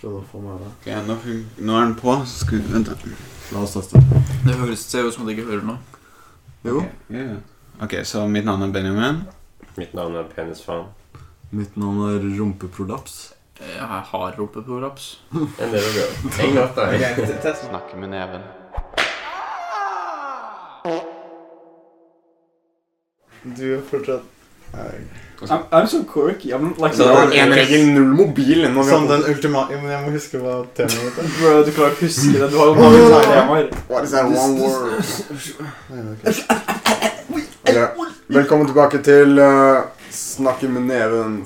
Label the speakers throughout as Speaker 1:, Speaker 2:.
Speaker 1: Prøv å få med det.
Speaker 2: Ok, nå, fun- nå er den på. så Skal vi vente.
Speaker 1: La oss teste.
Speaker 3: Det høres ser ut som at jeg ikke hører noe.
Speaker 1: Jo.
Speaker 2: Ok, ja, ja. ok, så mitt navn er Benjamin.
Speaker 4: Mitt navn er Penisfaen.
Speaker 1: Mitt navn er Rumpeprolaps.
Speaker 3: Jeg har rumpeprolaps.
Speaker 4: En del av det. En natt, da.
Speaker 2: Snakke med neven.
Speaker 1: Du er fortsatt
Speaker 5: I'm, I'm so quirky. I'm like
Speaker 2: Så det var en regel,
Speaker 5: null mobil. Når
Speaker 1: Sånn den ultima... Jo, men jeg må huske hva temaet mitt er.
Speaker 5: Bro, du klarer ikke å huske det. Du har jo mange flere temaer.
Speaker 6: What is that one word? Ok. Velkommen tilbake til eh, Snakke med neven.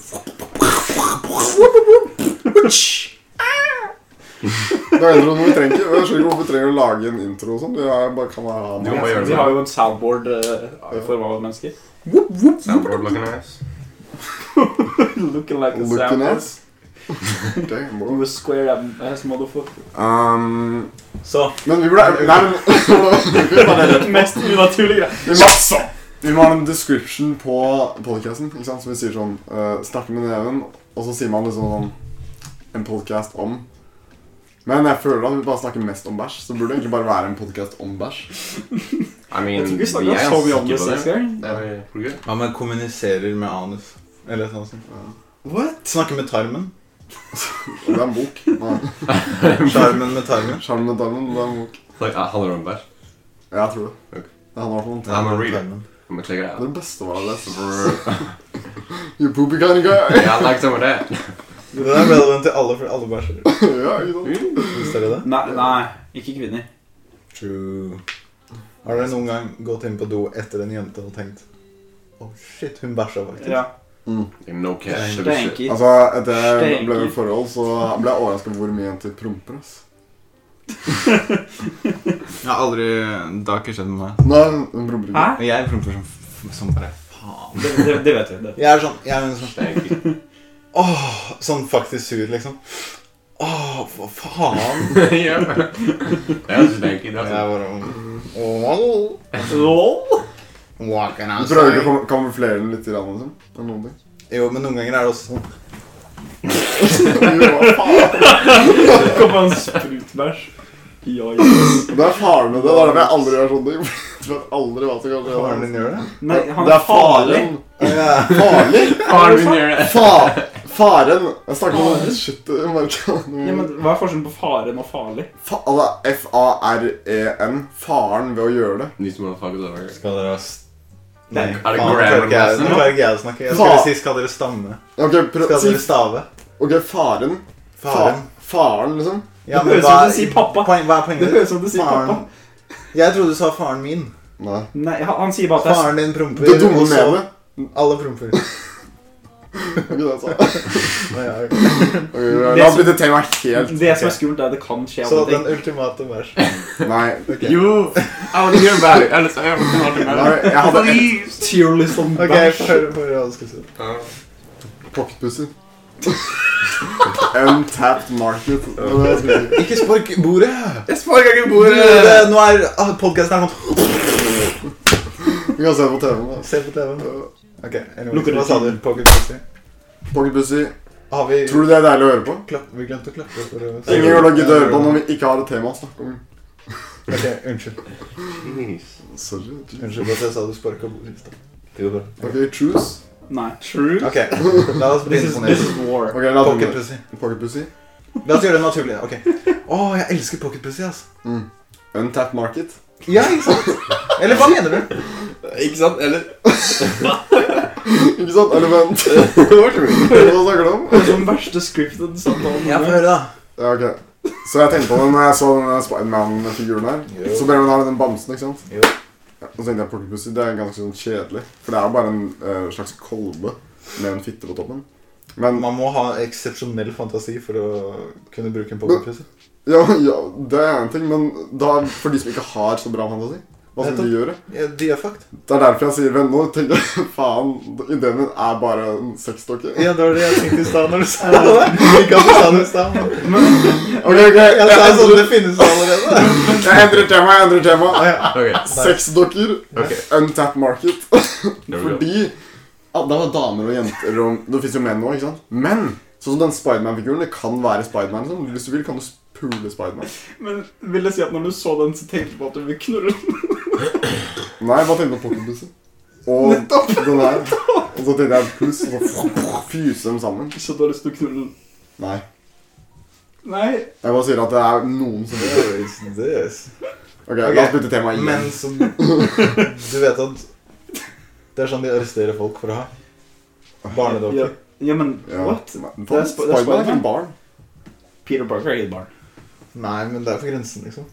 Speaker 6: Det er introen vi trenger. Jeg skjønner ikke hvorfor vi trenger å lage en intro og sånn. Det er bare kan man ha
Speaker 4: Du må
Speaker 6: den.
Speaker 4: bare gjøre
Speaker 5: Vi
Speaker 4: det.
Speaker 5: har jo en soundboard uh, for alle mennesker.
Speaker 4: Soundboard looking ass.
Speaker 5: Looking like a
Speaker 6: Looking
Speaker 5: soundboard.
Speaker 6: ass. Ok,
Speaker 5: You
Speaker 6: bro.
Speaker 5: a square ass motherfucker.
Speaker 6: Um,
Speaker 5: Så.
Speaker 6: men vi burde Nei, men vi må ha en-
Speaker 5: Mest unaturlig greie.
Speaker 6: Vi må ha en description på podcasten, ikke sant? Som vi sier sånn eh, Snakke med neven, og så sier man liksom sånn En podcast om. Men jeg føler at vi bare snakker mest om bæsj, så det burde egentlig bare være en podcast om bæsj.
Speaker 4: I mean,
Speaker 5: Jeg tror ikke vi snakket
Speaker 4: vi er
Speaker 5: så mye om
Speaker 4: ganske
Speaker 5: det
Speaker 4: sikre på
Speaker 5: sist gang.
Speaker 4: Det er pretty good.
Speaker 2: Hva med kommuniserer med anus? Eller noe sånt.
Speaker 1: What?
Speaker 2: Snakke med tarmen.
Speaker 6: Og det er en bok. Nei,
Speaker 2: Sjarmen med tarmen.
Speaker 6: Skjermen med tarmen, det er en bok.
Speaker 4: Like, uh, handler det om bæsj?
Speaker 6: Ja, jeg tror det.
Speaker 4: Ok.
Speaker 6: Det handler i hvert fall om det.
Speaker 4: Ja, men read it.
Speaker 2: Tarmen.
Speaker 4: I'm gonna check it out.
Speaker 6: Det beste var det beste for You poopy kind of guy.
Speaker 4: Yeah, I like some of that.
Speaker 2: Det der er relevant til alle, for alle bæsjer.
Speaker 6: ja, ikke sant?
Speaker 2: Visste dere det?
Speaker 5: Nei, nei, ikke kvinner.
Speaker 2: True. Har dere noen gang gått inn på do etter en jente og tenkt Å, shit, hun bæsja faktisk.
Speaker 5: Ja.
Speaker 4: Like, No cash.
Speaker 2: Det
Speaker 4: type of shit.
Speaker 5: Stenker.
Speaker 6: Altså, etter jeg ble med i forhold, så ble jeg overrasket over hvor mye jenter promper, ass.
Speaker 2: Jeg har aldri Det har ikke skjedd med meg.
Speaker 6: Nei, hun promper ikke.
Speaker 5: Hæ?
Speaker 2: Og jeg promper som, f- som bare faen.
Speaker 5: Det, det, det vet vi. Det.
Speaker 2: Jeg er sånn jeg er sånn,
Speaker 4: Stenker.
Speaker 2: åh, sånn faktisk sur, liksom. Åh, hva faen?
Speaker 4: Yeah. That's stanky,
Speaker 2: Og
Speaker 4: that's-
Speaker 2: Jeg bare Wow.
Speaker 5: Lol.
Speaker 2: What can I
Speaker 6: Du prøver ikke å
Speaker 2: say?
Speaker 6: kam- kamuflere den litt, grann, liksom? Eller noen ting?
Speaker 2: Jo, men noen ganger er det også sånn
Speaker 6: Jo, hva faen?
Speaker 5: Det kommer en sprutbæsj. Ja, ja.
Speaker 6: Det er faren med det. Det er derfor jeg aldri gjør sånne ting. Jeg vet aldri hva som kan skje.
Speaker 2: Faren din gjør det?
Speaker 5: Nei, han
Speaker 6: Det
Speaker 5: er farlig.
Speaker 6: faren.
Speaker 2: Å, ja.
Speaker 6: Farlig?
Speaker 4: Faren min gjør det.
Speaker 6: Fa faren. Jeg snakker om det. Shit, jeg merker det.
Speaker 5: Ja, men Hva er forskjellen på faren og farlig?
Speaker 6: Fa altså, F-A-R-E-N. E Faren ved å gjøre det.
Speaker 4: These motherfuckers over here.
Speaker 2: Skal dere ha s-
Speaker 5: Nei.
Speaker 2: faen,
Speaker 4: Er det
Speaker 2: nå
Speaker 4: grammar
Speaker 2: klarer ikke jeg-
Speaker 4: lesson,
Speaker 2: Nå
Speaker 4: da?
Speaker 2: klarer ikke jeg å snakke. Jeg skulle
Speaker 6: Faen.
Speaker 2: si 'skal dere stamme'?
Speaker 6: Ok, prøv
Speaker 2: Skal
Speaker 6: si
Speaker 2: dere stave?
Speaker 6: Ok, faren. Fa
Speaker 2: Faren.
Speaker 6: faren, liksom.
Speaker 2: Ja,
Speaker 5: Det
Speaker 2: men
Speaker 5: høres
Speaker 2: hva-
Speaker 5: ut som du sier pappa.
Speaker 2: Poeng, hva er
Speaker 5: Det
Speaker 2: poenget ditt?
Speaker 5: høres ut som du sier pappa.
Speaker 2: Jeg trodde du sa faren min.
Speaker 6: Nei.
Speaker 5: Nei, han, han sier bare at det er
Speaker 2: Faren din promper.
Speaker 6: Det dumme
Speaker 2: og
Speaker 6: med
Speaker 2: så-
Speaker 6: det
Speaker 2: Alle promper.
Speaker 6: Ok, det er sant.
Speaker 2: Nei, ja, ok.
Speaker 6: Ok, Det har blitt et tema helt
Speaker 5: Det som er skummelt, er at det kan skje
Speaker 2: Så
Speaker 5: andre
Speaker 2: den
Speaker 5: ting.
Speaker 2: ultimate bæsj.
Speaker 6: Nei.
Speaker 4: You! I want to hear about it. eh, Alex, I want to hear
Speaker 6: Nei,
Speaker 4: about it.
Speaker 6: Jeg hadde ett
Speaker 4: Please!
Speaker 5: Tier list on
Speaker 2: Ok,
Speaker 5: liksom bæsj.
Speaker 2: hør hør hva du skulle si.
Speaker 6: Pocketpussy. Untapped market. Det var det jeg skulle si.
Speaker 2: Ikke spark bordet!
Speaker 4: Jeg sparker ikke bordet!
Speaker 2: Bordet! Nå er ah, podcasten her sånn
Speaker 6: Vi kan se det på altså. TV-en. da.
Speaker 2: Se på TV-en. Ok,
Speaker 5: Lukker
Speaker 2: anyway,
Speaker 5: du
Speaker 2: hva sa du?
Speaker 5: tiden?
Speaker 2: Pocket Pussy?
Speaker 6: Pocketpussy.
Speaker 2: Har vi
Speaker 6: Tror du det er deilig å høre på?
Speaker 2: klapp, Vi glemte å klappe for å
Speaker 6: Ingen vil gidde å høre på når vi ikke har et tema å snakke om.
Speaker 2: Ok, unnskyld.
Speaker 4: Please.
Speaker 6: Sorry.
Speaker 2: Unnskyld for at jeg sa du sparka bordet i stad.
Speaker 4: Det går bra.
Speaker 6: Ok, choose.
Speaker 5: Nei. True.
Speaker 2: Ok, la oss
Speaker 5: This
Speaker 2: begynne
Speaker 5: is,
Speaker 2: på
Speaker 5: this
Speaker 2: nytt.
Speaker 5: is war.
Speaker 6: Ok, la
Speaker 2: Pocket
Speaker 6: den
Speaker 2: Pussy.
Speaker 6: Pocketpussy.
Speaker 2: La oss gjøre det naturlig. ok. Å, jeg elsker Pocket Pussy, ass.
Speaker 6: Untapped market.
Speaker 2: Ja, ikke sant? Eller hva mener du?
Speaker 4: Ikke sant? Eller
Speaker 6: Ikke sant? Eller vent. Hva snakker du om?
Speaker 5: Det er den verste scripted samtalen.
Speaker 2: Ja, få høre, da.
Speaker 6: Ja, ok. Så jeg tenkte på den når jeg så den Spiderman-figuren her.
Speaker 2: Jo.
Speaker 6: Så ble den her den bamsen, ikke sant?
Speaker 2: Jo.
Speaker 6: Ja, og så tenkte jeg Pocketpussy, det er ganske sånn kjedelig. For det er jo bare en eh, slags kolbe med en fitte på toppen. Men
Speaker 2: Man må ha eksepsjonell fantasi for å kunne bruke en Pocket Pussy.
Speaker 6: Ja, ja, det er en ting, men da, for de som ikke har så bra fantasi, hva skal de gjøre?
Speaker 2: Ja, de er fucked.
Speaker 6: Det er derfor jeg sier venn nå. Tenk, faen, ideen min er bare en sexdokke.
Speaker 2: Ja, det var det jeg tenkte i stad når du sa det. Ikke at du sa det i stad. men-
Speaker 6: Ok, ok, jeg,
Speaker 2: Jeg sa sånn
Speaker 6: endrer,
Speaker 2: det finnes allerede.
Speaker 6: jeg endrer tema. jeg endrer tema.
Speaker 2: Ah, ja.
Speaker 4: Ok.
Speaker 6: Sexdokker,
Speaker 4: Ok.
Speaker 6: untapped market. ah,
Speaker 4: There we go.
Speaker 6: Fordi ja, det var damer og jenter og Det fins jo menn òg, ikke sant? Men Sånn som den Spiderman-figuren. Det kan være Spiderman. Liksom. Hvis du vil, kan du pule Spiderman.
Speaker 5: Men vil jeg si at når du så den, så tenkte du på at du ville knulle den?
Speaker 6: Nei, jeg bare tenkte på pocketbusser. Og den her. Og så tenkte jeg puss, og så fyser dem sammen.
Speaker 5: Så du har lyst til å knulle den?
Speaker 6: Nei.
Speaker 5: Nei.
Speaker 6: Jeg bare sier at det er noen som vil.
Speaker 2: There is this.
Speaker 6: Ok, la oss bytte tema igjen.
Speaker 2: Men så Du vet at det er sånn de arresterer folk for å ha
Speaker 5: Ja,
Speaker 2: barnedokker.
Speaker 5: ja men
Speaker 6: Ja.
Speaker 5: what?
Speaker 6: Faen,
Speaker 5: Sp- det er
Speaker 6: Spiderman er ikke
Speaker 5: Spiderman.
Speaker 6: en barn.
Speaker 5: Peter Parker er ikke et barn.
Speaker 2: Nei, men det er på grensen, liksom.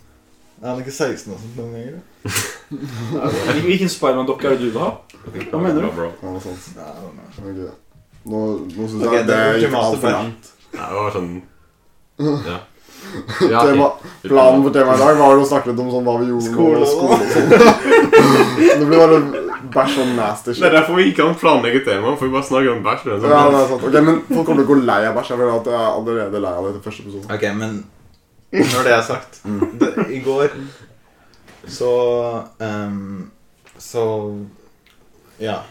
Speaker 2: Er han ikke 16 og sånt noen ganger? da?
Speaker 5: Hvil- Hvilken Spiderman-dokke er det du vil ha? Hva mener du?
Speaker 4: Bro.
Speaker 6: Ja, noe sånt.
Speaker 2: Nei, I don't know.
Speaker 6: Ok. Nå, nå syns jeg
Speaker 2: Ok, det
Speaker 6: det
Speaker 2: er
Speaker 6: gikk
Speaker 2: ultimate
Speaker 6: altfor
Speaker 2: plan.
Speaker 6: langt.
Speaker 4: Nei, det var sånn Ah, Ja.
Speaker 6: Tema, planen for temaet i dag var jo å snakke litt om sånn hva vi gjorde
Speaker 2: Skole
Speaker 6: og
Speaker 2: og
Speaker 6: skole og sånn. Det blir bare bæsj og nasty
Speaker 4: Det er
Speaker 6: shit.
Speaker 4: derfor vi ikke kan planlegge temaet, for vi bare snakker om bæsj. og
Speaker 6: Ja, det
Speaker 4: sånn.
Speaker 6: er sant. Ok, Men folk kommer til å gå lei av bæsj. Jeg føler at jeg er allerede lei av det etter første episode.
Speaker 2: Ok, men Mm. når det er sagt det, I går så ehm, Så Ja.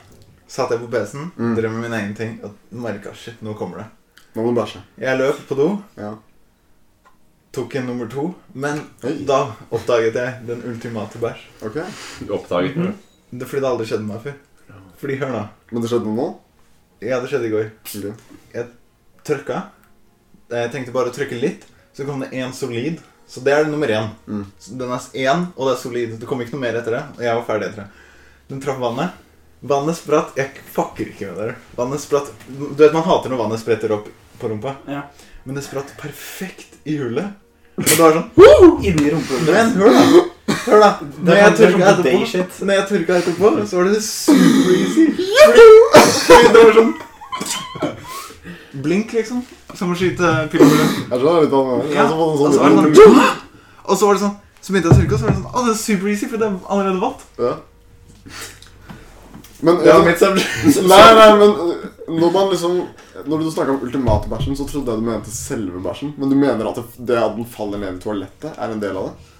Speaker 2: Satt jeg på PC-en,
Speaker 6: Mm.
Speaker 2: drev med min egen ting og merka shit, nå kommer det.
Speaker 6: Nå må du bæsje.
Speaker 2: Jeg løp på do,
Speaker 6: Ja.
Speaker 2: tok en nummer to, men
Speaker 6: Hei.
Speaker 2: da oppdaget jeg den ultimate bæsj.
Speaker 6: Ok.
Speaker 4: Oppdaget det.
Speaker 2: Det er fordi det aldri skjedde meg før. Fordi, hør nå.
Speaker 6: Men det skjedde noe nå?
Speaker 2: Ja, det skjedde i går.
Speaker 6: Ok.
Speaker 2: Trykka. Eh, Jeg tenkte bare å trykke litt, så kom det én solid. Så det er nummer én.
Speaker 6: Mm.
Speaker 2: Så Den er én, og det er solid. Det kom ikke noe mer etter det. Og jeg var ferdig etter det. Den traff vannet. Vannet spratt Jeg fucker ikke med dere. Vannet spratt Du vet man hater når vannet spretter opp på rumpa.
Speaker 5: Ja.
Speaker 2: Men det spratt perfekt i hullet. Og det var sånn
Speaker 5: Inni rumpehullet.
Speaker 2: Men hør, da! Hør da Når jeg
Speaker 5: Det er sånn
Speaker 2: tørka
Speaker 5: day
Speaker 2: etterpå,
Speaker 5: shit.
Speaker 2: når jeg tørka etterpå så var det super-easy. Det var sånn Blink, liksom. Som å skyte pilbulle.
Speaker 6: Jeg skjønner litt av det. Jeg har også fått en
Speaker 2: Og
Speaker 6: sånn
Speaker 2: så var det sånn Og så var det sånn Så begynte jeg å tørke, og så var det sånn Å, det er super-easy, for det er allerede vått.
Speaker 6: Ja. Men
Speaker 2: Ja,
Speaker 6: nei,
Speaker 2: mitt er-
Speaker 6: nei, men øh, når man liksom Når du snakka om ultimatbæsjen, så trodde jeg du mente selve bæsjen. Men du mener at det, det at den faller ned i toalettet, er en del av det?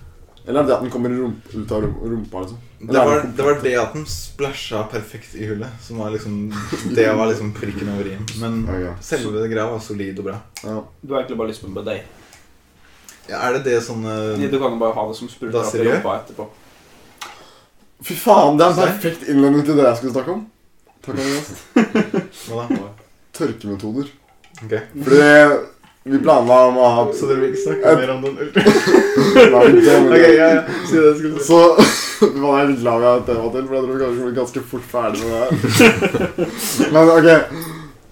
Speaker 6: Eller er det at den kommer i rump, ut av rum- rumpa, liksom?
Speaker 2: Det var, det var det at den splæsja perfekt i hullet, som var liksom Det var liksom prikken over i-en. Men
Speaker 6: Ok,
Speaker 2: selve greia var solid og bra.
Speaker 6: ja.
Speaker 5: Du har egentlig bare lyst på en bidet.
Speaker 2: Ja, er det det sånne
Speaker 5: Du kan jo bare ha det som spruter
Speaker 2: Da
Speaker 5: opp i
Speaker 2: seriøst?
Speaker 5: rumpa etterpå.
Speaker 6: Fy faen, det er en perfekt innledning til det jeg skulle snakke om. Takk Andreas.
Speaker 2: Hva da?
Speaker 6: Tørkemetoder.
Speaker 2: Ok.
Speaker 6: Fordi vi planla om å ha
Speaker 2: Så dere vil ikke snakke mer om den ultra...
Speaker 6: Nei, det-
Speaker 2: Ok, ja, ja. Si det jeg skulle si.
Speaker 6: Så man er litt glad vi har et tema til, for jeg tror vi kanskje blir ganske fort ferdig med det her. Men ok,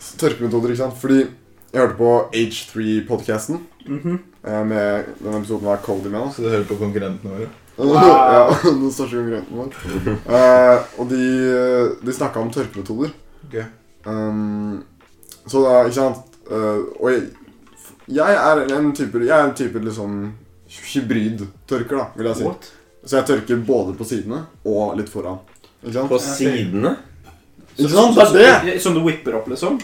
Speaker 6: så tørkemetoder, ikke sant? Fordi jeg hørte på H3-podcasten
Speaker 5: Mhm.
Speaker 6: eh, med denne episoden var Cody med oss.
Speaker 2: Så du hører på konkurrentene våre?
Speaker 5: Wow.
Speaker 6: ja, den største konkurrenten vår. Eh, og de, eh, de snakket om tørkemetoder.
Speaker 2: Ok.
Speaker 6: Um, så da, ikke sant? Eh, og jeg, jeg er en type, jeg er en type liksom hybrid-tørker da, vil jeg si.
Speaker 5: What?
Speaker 6: Så jeg tørker både på sidene og litt foran. Ikke sant?
Speaker 4: På sidene?
Speaker 6: Ikke sant? Det er det!
Speaker 5: Ja, Som du whipper opp, liksom?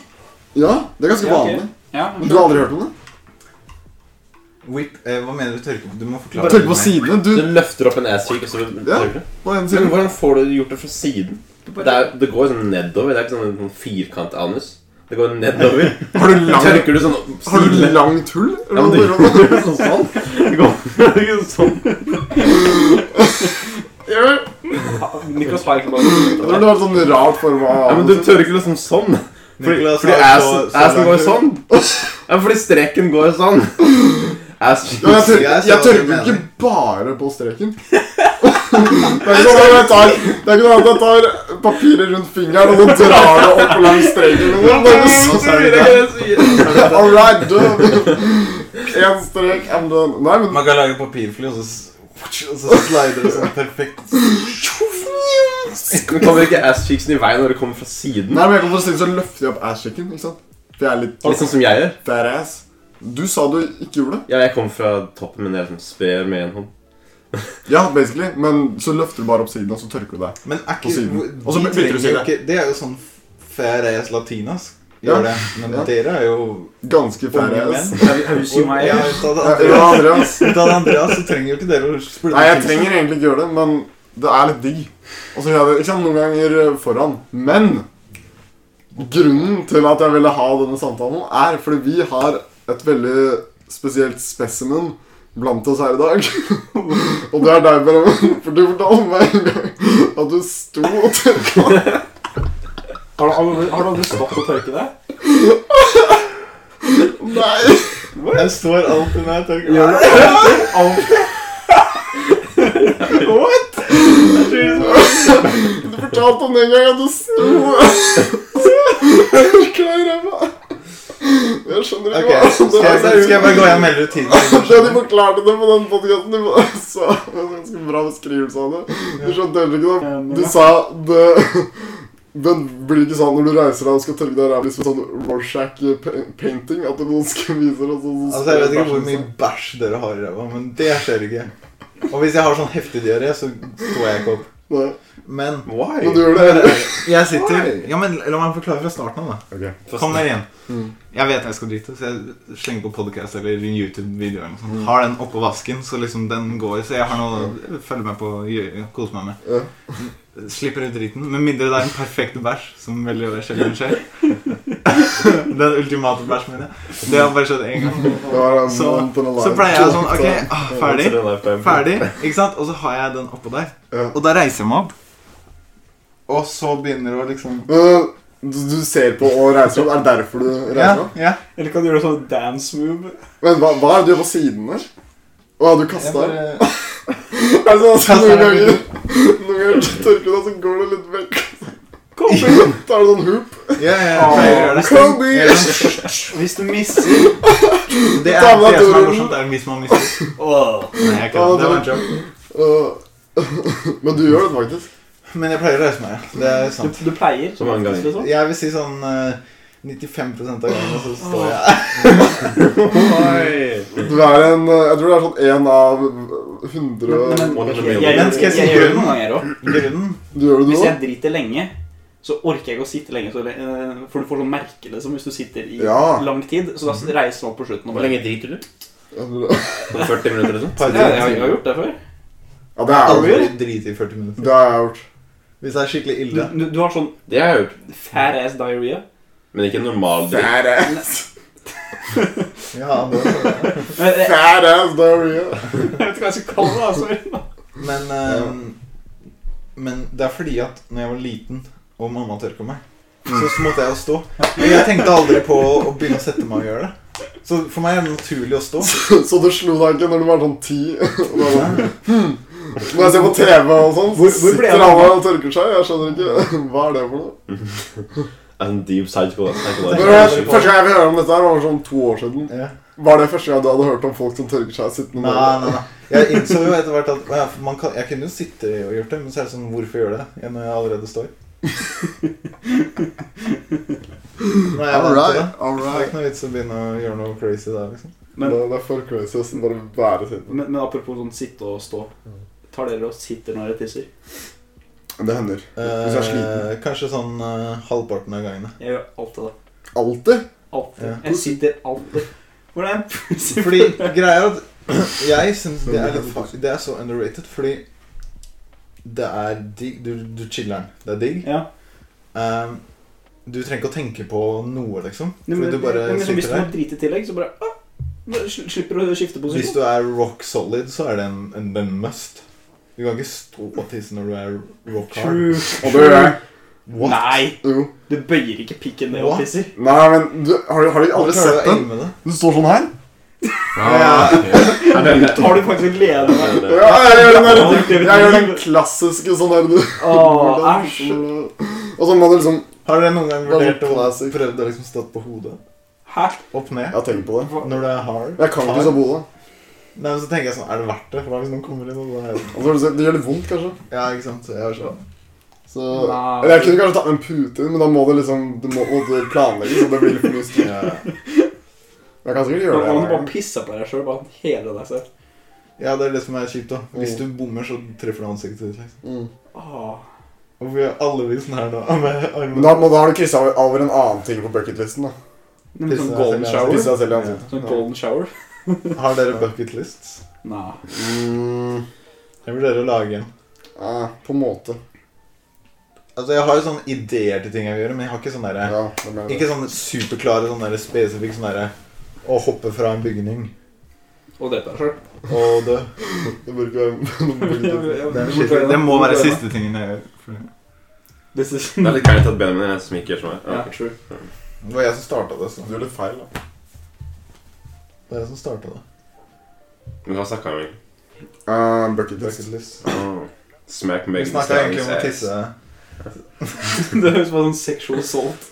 Speaker 6: Ja, det er ganske
Speaker 5: Ja, ok.
Speaker 6: vanlig.
Speaker 5: Ja.
Speaker 6: Men du har aldri hørt om det?
Speaker 2: Whip, eh, hva mener du tørke på? Du må forklare
Speaker 6: Tørke på sidene?
Speaker 4: Du
Speaker 6: Du,
Speaker 4: løfter opp en ass-cheek, og så
Speaker 6: Ja.
Speaker 4: tørker du.
Speaker 6: på en
Speaker 4: Men
Speaker 6: side.
Speaker 4: hvordan får du gjort det fra siden? Det, er, det går jo sånn nedover. Det er ikke sånn en sånn firkant-anus. Det går nedover.
Speaker 6: Har du lang,
Speaker 4: Tørker du sånn opp
Speaker 6: har du
Speaker 4: sidene?
Speaker 6: langt hull?
Speaker 4: Ja, men
Speaker 6: Eller
Speaker 4: du
Speaker 6: hvordan-
Speaker 4: gjør sånn sånn. Det går ikke sånn.
Speaker 5: Niklas har egentlig bare
Speaker 6: Eller du har et sånn rart form av
Speaker 4: Ja, men du tørker liksom sånn. Fordi,
Speaker 2: Niklas
Speaker 4: fordi
Speaker 2: har
Speaker 4: assen,
Speaker 2: så- så
Speaker 4: assen
Speaker 2: langt
Speaker 4: går
Speaker 2: ut.
Speaker 4: sånn. Ja, fordi streken går sånn. Ass.
Speaker 6: Ja, jeg, tør,
Speaker 2: Jeg
Speaker 6: jeg,
Speaker 2: ser hva du
Speaker 6: tørker
Speaker 2: mener.
Speaker 6: ikke bare på streken. Det er ikke sånn at jeg tar, det er ikke sånn at jeg tar papiret rundt fingeren og så drar det opp langs streken. Det er bare så-
Speaker 2: Nå sa du det.
Speaker 6: All right, done. En strek, I'm done. Nei, men
Speaker 2: Man kan lage papirfly, og så, s- og så slider det sånn perfekt.
Speaker 4: Men kommer ikke ass-cheeksen i veien når det kommer fra siden?
Speaker 6: Nei, men jeg kan for å si det, så løfter jeg opp ass-checken, ikke sant? For jeg er litt
Speaker 4: Litt sånn som jeg gjør.
Speaker 6: fat ass. Du sa du ikke gjorde det.
Speaker 4: Ja, jeg kommer fra toppen, men jeg liksom sper med en hånd.
Speaker 6: Ja, basically. Men så løfter du bare opp siden, og så tørker du deg.
Speaker 2: Men er
Speaker 6: På
Speaker 2: ikke
Speaker 6: siden.
Speaker 2: hvor- de
Speaker 6: Og så bytter du
Speaker 2: trenger
Speaker 6: side.
Speaker 2: jo ikke- Det er jo sånn fair ass latinas. Gjør
Speaker 6: Ja.
Speaker 2: det. Men
Speaker 6: Ja.
Speaker 2: dere er jo
Speaker 6: Ganske fat
Speaker 2: Unge
Speaker 6: ass.
Speaker 2: menn.
Speaker 5: Have you seen my
Speaker 2: Ja,
Speaker 5: age?
Speaker 2: ut av det
Speaker 6: altså? Ja,
Speaker 2: andre-
Speaker 6: Andreas.
Speaker 2: ut av det andre, så trenger jo ikke dere å splunke.
Speaker 6: Nei, jeg trenger egentlig ikke gjøre det, men det er litt digg. Og så gjør jeg det ikke sant, noen ganger foran. Men eh, Grunnen til at jeg ville ha denne samtalen, er fordi vi har et veldig spesielt spesimen blant oss her i dag. og det er deg, Benjamin. For du fortalte meg en gang at du sto og tørka
Speaker 5: Har du aldri, har du aldri stått og tørket deg?
Speaker 6: Nei!
Speaker 2: Jeg står alltid når jeg tørker.
Speaker 5: Gjør du alltid? Alltid?
Speaker 6: Du fortalte om den gangen at du sto og tørka i ræva. Jeg skjønner
Speaker 2: Ok,
Speaker 6: ikke hva
Speaker 2: skal
Speaker 6: det
Speaker 2: jeg,
Speaker 6: er.
Speaker 2: skal jeg bare gå igjen og melde ut
Speaker 6: Da de
Speaker 2: tiden?
Speaker 6: forklarte det på den podcasten de var- så det var en ganske bra beskrivelse av det. Du skjønte heller ikke det. Du sa det Den blir ikke sånn når du reiser deg og skal tørke deg ræva liksom sånn Rorschach-painting. At noen skal vise deg sånn
Speaker 2: Altså, Jeg vet ikke hvor mye bæsj dere har i ræva, men det skjer ikke. Og hvis jeg har sånn heftig diaré, så står jeg ikke opp.
Speaker 6: Nei,
Speaker 2: Men
Speaker 6: Men du gjør det.
Speaker 2: jeg sitter Ja, men La meg forklare fra starten av, da.
Speaker 6: Ok.
Speaker 2: Kom dere igjen.
Speaker 6: Mm.
Speaker 2: Jeg vet jeg skal drite, så jeg slenger på podcast eller YouTube-video. eller noe sånt. Har den oppå vasken, så liksom den går. Så jeg har noe å følge med på og kose meg med.
Speaker 6: Ja.
Speaker 2: Slipper ut driten. Med mindre det er en perfekt bæsj, som veldig sjelden skjer. den ultimate bæsj, mener jeg. Det har bare skjedd én gang.
Speaker 6: Det var en
Speaker 2: Så-
Speaker 6: month and a
Speaker 2: Så
Speaker 6: life.
Speaker 2: pleier jeg sånn Ok, ah, ferdig.
Speaker 4: Ferdig.
Speaker 2: Ferdig, ikke sant? Og så har jeg den oppå der.
Speaker 6: Ja.
Speaker 2: Og da reiser jeg meg opp. Og så begynner det å liksom
Speaker 6: Men, Du, du ser på og reiser opp. Er det derfor du
Speaker 2: Ja,
Speaker 6: reiser opp?
Speaker 2: ja.
Speaker 5: Eller kan du gjøre sånn dance move?
Speaker 6: Men hva, hva er det du gjør på siden der? Å, du
Speaker 2: Jeg
Speaker 6: kasta
Speaker 2: bare
Speaker 6: Altså, altså,
Speaker 2: Kastet
Speaker 6: noen
Speaker 2: deg
Speaker 6: ganger Noen ganger så tørker du deg, så går du litt vekk.
Speaker 5: Kom
Speaker 6: Da er det sånn hoop.
Speaker 2: Ja, ja, jeg
Speaker 5: Åh,
Speaker 2: pleier å gjøre det.
Speaker 6: Kobe!
Speaker 2: Jeg gjør det.
Speaker 5: Hvis du misser
Speaker 2: Det
Speaker 6: Ta
Speaker 2: er
Speaker 6: med
Speaker 2: det som er
Speaker 6: Toro.
Speaker 2: morsomt. Det er hvis man mister.
Speaker 5: Åh.
Speaker 2: Nei, jeg
Speaker 6: Ta med
Speaker 2: kødder. Det var en joke.
Speaker 6: Øh, Men du gjør det faktisk.
Speaker 2: Men jeg pleier å reise meg. ja. Det er
Speaker 5: Du,
Speaker 2: sant.
Speaker 5: du pleier?
Speaker 4: Så mange ganger.
Speaker 5: Liksom.
Speaker 2: Jeg vil si sånn eh, 95 av gangene så står jeg
Speaker 6: Du er en øh, Jeg tror det er sånn én av øh, hundre
Speaker 5: Men- men-
Speaker 4: One in a
Speaker 5: sånn. Jeg,
Speaker 4: million.
Speaker 5: jeg,
Speaker 2: Men skal jeg
Speaker 5: jeg,
Speaker 2: si
Speaker 5: jeg gjør det
Speaker 2: grunnen?
Speaker 5: noen ganger òg.
Speaker 2: Grunnen
Speaker 6: Du gjør det, du
Speaker 5: Hvis
Speaker 6: òg?
Speaker 5: jeg driter lenge, så orker jeg ikke å sitte lenge. Så, le- eh, for du får sånn merke liksom, hvis du sitter i
Speaker 6: Ja.
Speaker 5: lang tid. Så da reiser man opp på slutten. Og
Speaker 4: Hvor
Speaker 5: bare,
Speaker 4: Mhm. lenge driter du?
Speaker 6: Ja, du-
Speaker 4: Sånn 40 minutter eller sånt?
Speaker 5: ja, jeg, har- jeg har gjort det før.
Speaker 6: Ja, det er
Speaker 2: Aldri
Speaker 6: jo
Speaker 2: drit i 40 minutter.
Speaker 6: Det har jeg gjort.
Speaker 2: Hvis det er skikkelig
Speaker 5: Du,
Speaker 2: ille.
Speaker 5: du, du har sånn
Speaker 4: Det har jeg gjort.
Speaker 5: fat ass diaré.
Speaker 4: Men ikke normal drit.
Speaker 2: Ja, det- sånn.
Speaker 5: Jeg jeg
Speaker 6: Fat ass diaré.
Speaker 5: vet ikke hva jeg skal kalle det. Altså.
Speaker 2: men eh, Men det er fordi at når jeg var liten, og mamma tørka meg, så måtte jeg jo stå. Men jeg tenkte aldri på å begynne å sette meg og gjøre det. Så for meg er det naturlig å stå.
Speaker 6: Så du slo deg ikke når du var sånn ti? Og da var det, hmm. Når jeg ser på TV og sånn, så
Speaker 5: Hvor- hvor ble jeg
Speaker 6: sitter
Speaker 5: av
Speaker 6: alle og tørker seg. Jeg skjønner ikke. Hva er det for noe?
Speaker 4: Det er sånn deep psycho. da. Tenk på
Speaker 6: Men
Speaker 4: det.
Speaker 2: Det er-
Speaker 6: jeg- Første gang jeg hørte om dette, her var sånn to år siden.
Speaker 2: Ja.
Speaker 6: Var det første gang du hadde hørt om folk som tørker seg sittende
Speaker 2: Nei, nei, nei. Jeg innså jo etter hvert at ja, for man kan, jeg kunne jo sitte og gjort det, men så er det sånn Hvorfor gjøre det når jeg allerede står? Nei, jeg vant
Speaker 6: Alright,
Speaker 2: til det. Det er
Speaker 6: alright.
Speaker 2: ikke noe vits å begynne å gjøre noe crazy der, liksom.
Speaker 5: Men,
Speaker 6: det, det er for crazy å bare være sittende.
Speaker 5: men, men apropos sånn sitte og stå. Tar dere og sitter når dere tisser?
Speaker 6: Det hender. Hvis jeg er sliten.
Speaker 2: Eh, kanskje sånn eh, halvparten av gangene.
Speaker 5: Jeg gjør alltid det.
Speaker 6: Alltid.
Speaker 5: Alltid.
Speaker 2: Ja.
Speaker 5: Jeg sitter alltid. Hvor er pussy?
Speaker 2: Fordi greia er at jeg syns det er litt fa- Det er så underrated, fordi det er digg. Du, du chiller'n. Det er digg.
Speaker 5: ja.
Speaker 2: Eh, du trenger ikke å tenke på noe, liksom.
Speaker 5: Nei,
Speaker 2: Fordi
Speaker 5: men,
Speaker 2: du bare
Speaker 5: nei, men, så
Speaker 2: sitter
Speaker 5: Hvis du
Speaker 2: der.
Speaker 5: må drite i tillegg, så bare ah, bare sl- Slipper du å skifte
Speaker 2: Hvis
Speaker 5: posisjon.
Speaker 2: du er rock solid, så er det en, en, en must. Du kan ikke stå og tisse når du er rock hard.
Speaker 5: True.
Speaker 6: Og det gjør jeg.
Speaker 2: What?
Speaker 5: Nei!
Speaker 6: Jo.
Speaker 5: Du bøyer ikke pikken ned og
Speaker 2: What?
Speaker 5: tisser.
Speaker 6: Nei, men du, har, du- har du aldri sett den?
Speaker 2: Med det?
Speaker 6: Du står sånn her.
Speaker 3: Ja, ok.
Speaker 5: Tar du faktisk og leder deg?
Speaker 6: Ja, jeg gjør den,
Speaker 5: Ja,
Speaker 6: der,
Speaker 5: det
Speaker 6: jeg
Speaker 5: er
Speaker 6: gjør
Speaker 5: liv.
Speaker 6: den klassiske sånn her. du-
Speaker 5: Åh, æsj.
Speaker 6: Og sånn hadde liksom
Speaker 2: Har dere noen gang
Speaker 6: Hva er
Speaker 2: vurdert å
Speaker 6: classic?
Speaker 2: prøvd å liksom stå på hodet?
Speaker 5: Hæ?
Speaker 2: Opp ned?
Speaker 6: Jeg har tenkt på det.
Speaker 2: Når du er hard?
Speaker 6: Jeg kan ikke sånn- liksom så bolig.
Speaker 2: Nei, men så tenker jeg sånn, er det verdt det? For da hvis noen kommer inn og da er det
Speaker 6: Og så har du sett- Altså, Det gjør litt vondt, kanskje.
Speaker 2: Ja, ikke sant? Jeg er sånn.
Speaker 6: Så,
Speaker 5: Nei.
Speaker 6: eller jeg kunne kanskje tatt med en pute inn, men da må det liksom Du må, må det planlegges, og det blir litt for mye styr.
Speaker 2: Ja, ja.
Speaker 6: Jeg kan sikkert
Speaker 5: Nå
Speaker 6: gjøre det.
Speaker 5: kan du
Speaker 6: en
Speaker 5: bare
Speaker 6: gang.
Speaker 5: pisse på deg sjøl. Bare hele deg selv.
Speaker 2: ja, det er det som er kjipt, da. Hvis du bommer, så treffer du ansiktet ditt. liksom.
Speaker 6: Mm.
Speaker 5: Åh.
Speaker 2: Og vi er alle vi sånn her nå, med
Speaker 6: Men da,
Speaker 2: armene
Speaker 6: må, da har du kryssa over, over en annen ting på bucketlisten. da
Speaker 5: Nei, men
Speaker 2: Pisse
Speaker 5: Sånn
Speaker 2: deg
Speaker 5: golden
Speaker 2: selv i
Speaker 5: shower.
Speaker 6: Pisse deg selv i ansiktet.
Speaker 5: Sånn golden shower?
Speaker 2: Har dere bucket lists?
Speaker 5: Nei.
Speaker 6: Mm,
Speaker 2: Jeg vurderer å lage en.
Speaker 6: eh, på en måte.
Speaker 2: Altså, jeg har jo sånne ideer til ting jeg vil gjøre, men jeg har ikke sånn derre
Speaker 6: Ja, det mener jeg.
Speaker 2: Ikke sånne superklare, sånn derre spesifikk sånn derre Å hoppe fra en bygning
Speaker 5: Og drepe deg sjøl.
Speaker 2: og dø.
Speaker 6: Det burde ikke være noe bilde.
Speaker 2: Det, er shit. det må være siste tingen jeg gjør. for-
Speaker 5: This is
Speaker 4: Det er litt kleint at Benjamin er den som ikke gjør som meg.
Speaker 5: Ja,
Speaker 4: Ja.
Speaker 5: true.
Speaker 2: Det var jeg som starta det. Så.
Speaker 6: Du gjør litt feil, da.
Speaker 2: Det er jeg som startet det.
Speaker 4: Men hva snakka vi om?
Speaker 6: Uh, bucket list.
Speaker 2: Bucket list.
Speaker 4: Oh. Smack
Speaker 2: Vi
Speaker 4: Megan
Speaker 2: snakka egentlig om å
Speaker 4: Stallions
Speaker 2: tisse.
Speaker 5: Det høres ut som en sexual assault.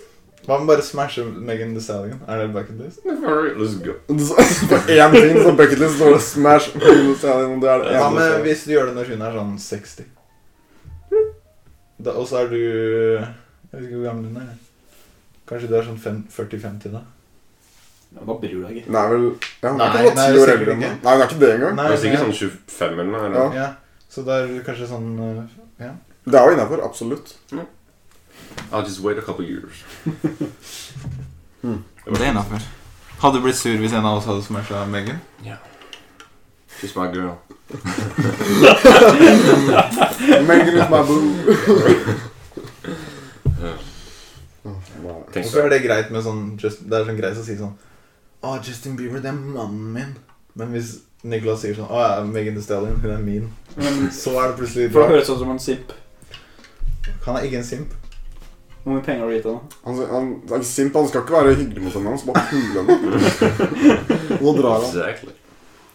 Speaker 2: Hva med bare smashe Megan Thee Stallion? Er det bucket list?
Speaker 4: ass. Let's go.
Speaker 6: På én ting som bucket list står det 'smash'. Bruno Stallion, Det er det
Speaker 2: Hva med
Speaker 6: eneste.
Speaker 2: hvis du gjør det når hun er sånn 60? Da, og så er du Jeg vet ikke hvor gammel hun er. Kanskje du er sånn fem- 40-50 da?
Speaker 5: Ja, men da bryr du deg ikke.
Speaker 6: Nei, vel ja, hun er
Speaker 2: Nei,
Speaker 6: ikke bare
Speaker 2: nei,
Speaker 6: ti år
Speaker 2: sikkert
Speaker 6: eldre enn
Speaker 2: ikke.
Speaker 6: meg. Nei, hun er ikke det engang.
Speaker 4: Det er sikkert sånn 25 eller noe.
Speaker 6: Ja.
Speaker 4: Eller?
Speaker 2: Ja. Så da er du kanskje sånn eh,
Speaker 6: Det er jo innafor, absolutt.
Speaker 4: I'll just wait a couple years.
Speaker 2: Det er innafor. Hadde du blitt sur hvis en av oss hadde smasha Megan?
Speaker 4: She's my girl.
Speaker 6: Megan is my boo.
Speaker 4: Tenk
Speaker 2: Hvorfor
Speaker 4: så.
Speaker 2: er det greit med sånn just, Det er sånn greit å si sånn Å, Justin Bieber, det er mannen min. Men hvis Nicholas sier sånn Å, ja, Megan Thee Stallion, hun er min.
Speaker 5: Men
Speaker 2: Så er det plutselig
Speaker 5: For det
Speaker 2: rart.
Speaker 5: høres ut som en simp.
Speaker 2: Han er ikke en simp.
Speaker 5: Hvor mye penger har du gitt henne?
Speaker 6: Han, han, han er ikke sint, han skal ikke være hyggelig mot henne. Han skal bare pule henne. Nå drar han.
Speaker 4: Exactly.